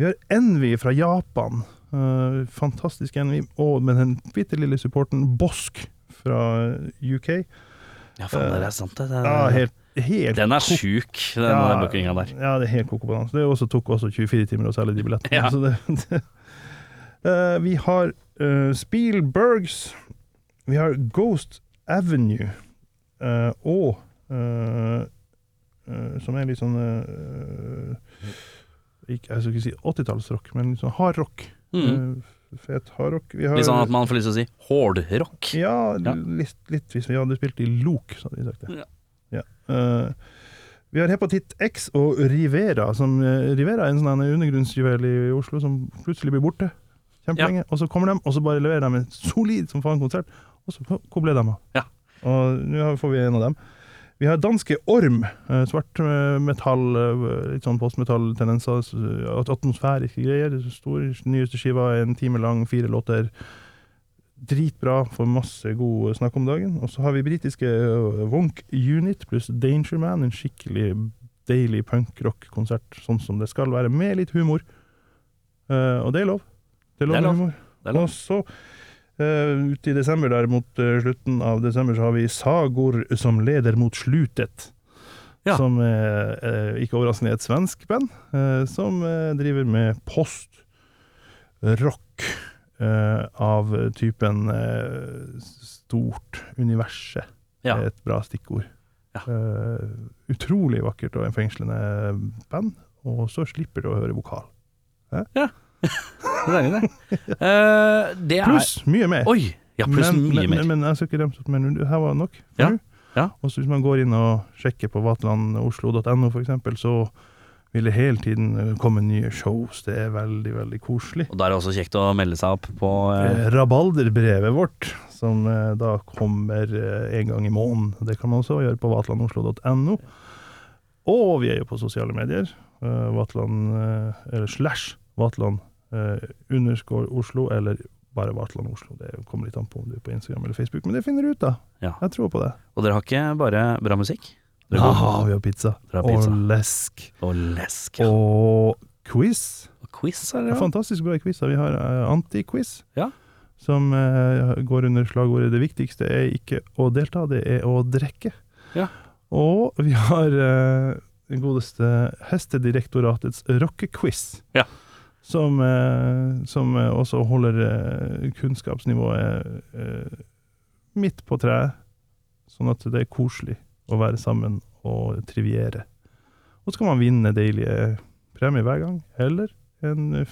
F: Vi har Envy fra Japan. Eh, fantastisk Envy. Og med den bitte lille supporten Bosk fra UK.
A: Ja, faen, det er sant, det. Den,
F: Ja, ah, helt, helt
A: den er
F: ko-
A: sjuk, den
F: Ja.
A: bookinga der.
F: Ja, det er helt koko banan. Så Det også, tok også 24 timer å selge de billettene.
A: Ja.
F: Så det, det. Eh, vi har eh, Spielbergs, vi har Ghost Avenue eh, og eh, eh, Som er litt sånn eh, ikke, Jeg skal ikke si 80-tallsrock, men litt sånn hardrock.
A: Mm.
F: Eh, fet hardrock. Vi har-
A: Litt sånn at man får lyst til å si hårdrock.
F: ja,
A: Ja.
F: Litt, litt hvis vi hadde spilt i Lok, så hadde vi sagt det.
A: Ja.
F: Ja. Eh, vi har Hepatitt X og Rivera. Som, eh, Rivera er en sånn en undergrunnsjuvel i Oslo som plutselig blir borte kjempelenge. Og så kommer de, og så bare leverer de en solid som faen konsert, og så ko- kobler de av.
A: Ja.
F: Og nå har- får vi en av dem. Vi har danske Orm, eh, svart eh, metall, eh, litt sånn postmetall-tendenser, s- at- atmosfæriske greier. Stor, nyeste skiva er en time lang, fire låter. Dritbra, får masse god snakk om dagen. Og så har vi britiske eh, Wonk Unit pluss Danger Man, en skikkelig deilig punkrock-konsert, sånn som det skal være, med litt humor. Eh, og det er lov. Det er
A: Det er
F: lov,
A: lov.
F: med humor.
A: Det er lov.
F: Og så, eh, ute i desember der, mot eh, slutten av desember, så har vi Sagor som leder mot slutet.
A: Ja.
F: Som er, eh, ikke overraskende er et svensk band, eh, som eh, driver med post-rock eh, av typen eh, stort universet.
A: Ja.
F: er et bra stikkord.
A: Ja.
F: Eh, utrolig vakkert og en fengslende band, og så slipper du å høre vokal.
A: Det er det. Eh, det er
F: Pluss mye mer!
A: Oi! Ja, pluss
F: men,
A: mye
F: men,
A: mer.
F: Men, men jeg skal ikke remse opp, men det her var nok. for
A: Ja,
F: nå.
A: ja.
F: Og så hvis man går inn og sjekker på vatlandoslo.no for eksempel, så vil det hele tiden eh, komme nye shows. Det er veldig, veldig koselig.
A: Og da er det også kjekt å melde seg opp på eh,
F: Eh, Rabalderbrevet vårt, som eh, da kommer eh, en gang i måneden. Det kan man også gjøre på vatlandoslo.no. Og vi er jo på sosiale medier. eh, Vatland eh, eller slash Vatland eh, underscore Oslo, eller bare Vatland Oslo. Det kommer litt an på om du er på Instagram eller Facebook, men det finner du ut, da.
A: Ja.
F: Jeg tror på det.
A: Og dere har ikke bare bra musikk? Dere
F: Ja,
A: har
F: vi har pizza.
A: Dere har pizza.
F: Og lesk.
A: Og lesk. Og
F: Og quiz.
A: quiz, eller?
F: Det er Fantastisk bra quiz. Vi har eh, anti-quiz,
A: Ja.
F: som eh, går under slagordet 'Det viktigste er ikke å delta, det er å drikke'.
A: Ja.
F: Og vi har eh, den godeste Hestedirektoratets rockequiz.
A: Ja.
F: Som, eh, som eh, også holder eh, kunnskapsnivået eh, midt på treet, sånn at det er koselig å være sammen og triviere. Og så kan man vinne deilige premier hver gang, eller en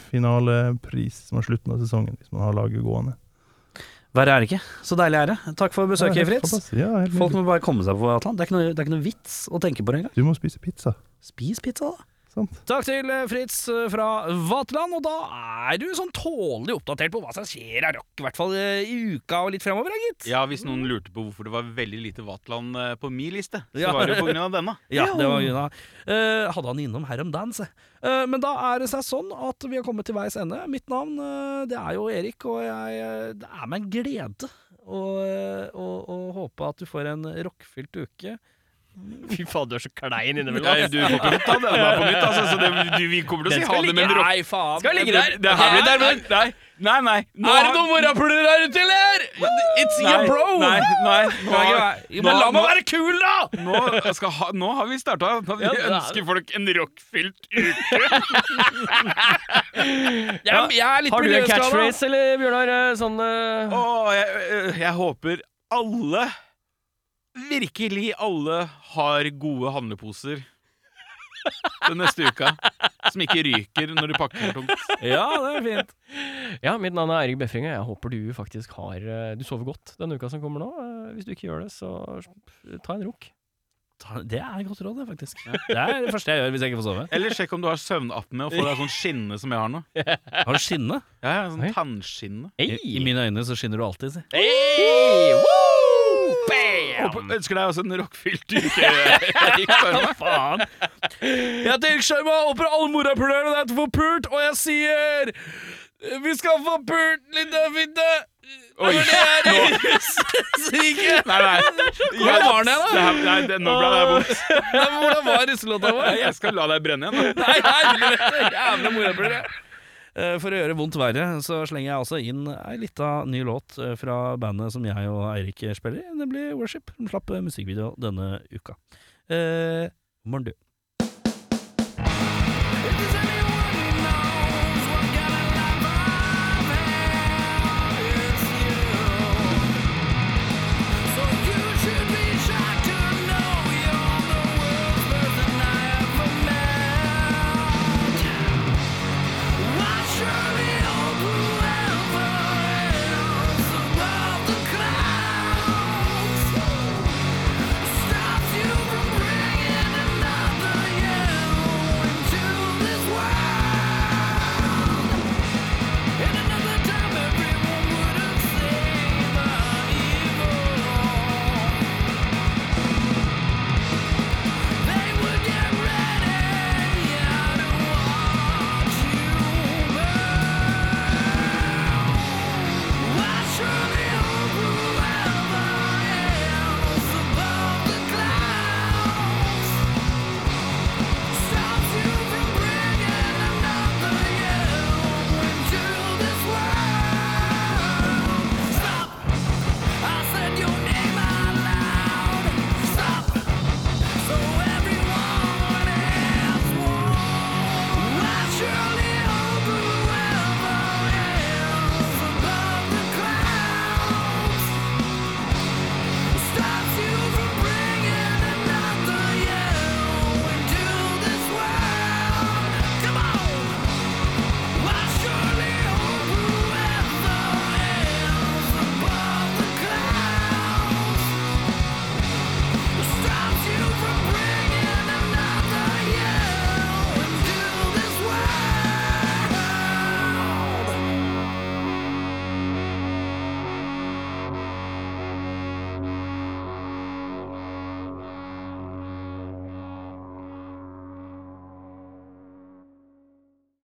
F: finalepris som er slutten av sesongen, hvis man har laget gående.
A: Verre er det ikke. Så deilig er det. Takk for besøket,
F: Ja, helt
A: Fritz.
F: fantastisk. Ja, helt
A: Folk
F: nydelig.
A: må bare komme seg på Atlant. Det er ikke noe, det er ikke noe vits å tenke på det engang.
F: Du må spise pizza.
A: Spis pizza, da.
F: Sant?
A: Takk til eh, Fritz eh, fra Vatland, og da er du sånn tålelig oppdatert på hva som skjer av rock, i hvert fall eh, i uka og litt fremover, da, gitt.
C: Ja, Hvis noen lurte på hvorfor det var veldig lite Vatland eh, på min liste, så
A: Ja.
C: var det på grunn av denne.
A: Ja, det var Gina. Eh, hadde han innom her om dagen, se. Eh, men da er det seg sånn at vi har kommet til veis ende. Mitt navn eh, det er jo Erik, og jeg, eh, det er meg en glede å, eh, å, å håpe at du får en rockfylt uke.
B: Fy faen, du er så klein innimellom.
C: Nei, du får ikke ta den her på nytt, altså. Så det, du, vi kommer til å si ha det med en rock...
A: Nei, faen!
B: Skal ligge der.
C: Det, det her blir der, nei, nei, nei. Nå
A: Er det
C: har-
A: noen morapuler her ute, eller?! It's
C: Nei,
A: your bro!
C: Nei, nei.
A: Kan
C: Nå,
A: jeg ikke være- Men la
C: nå-
A: meg være kul, da!
C: nå, skal ha, nå har vi starta. Vi
B: Ja, det er-
C: ønsker folk en rockfylt uke.
A: Jeg, jeg er litt
B: Har du en
A: miljøskada.
B: catchphrase, eller Bjørnar? eh, Sånn eh,
C: Åh, jeg, øh, jeg håper alle, virkelig alle, har gode handleposer den neste uka. Som ikke ryker når du pakker for tungt.
A: Ja, det er fint.
B: Ja, mitt navn er Eirik Befring, og jeg håper du faktisk har eh, Du sover godt den uka som kommer nå. hvis du ikke gjør det, så ta en runk.
A: Ta- Det er et godt råd, det, faktisk. Det er det første jeg gjør hvis jeg ikke får sove.
C: Eller sjekk om du har søvnappen med og får deg sånn skinne som jeg har nå.
A: Har du skinne?
C: Ja, ja, sånn
B: Oi.
C: tannskinne.
A: I, I mine øyne så skinner du alltid, si.
B: Hey, woo!
C: Håper-
B: Bam!
C: Ønsker deg også en rockfylt uke. Erik Sjarma.
A: Faen! Jeg heter Erik Sjarma, håper alle morapulerne der får pult, og jeg sier eh, Vi skal få pult, lille fitte!
C: Oi, nå-
A: Sike!
C: Nei, nei.
A: Hvordan var den igjen, da?
C: Det her- Nei, det, nå ble det vondt.
A: Nei, men Hvordan var russelåta vår?
C: Nei, Jeg skal la deg brenne igjen. da.
A: Nei, helvete! Jævla morapulere! Eh, For å gjøre vondt verre, så slenger jeg altså inn ei lita ny låt eh, fra bandet som jeg og Eirik spiller i, nemlig Worship. Den slapp eh, musikkvideo denne uka. Eh, morgen, du.
D: If there's any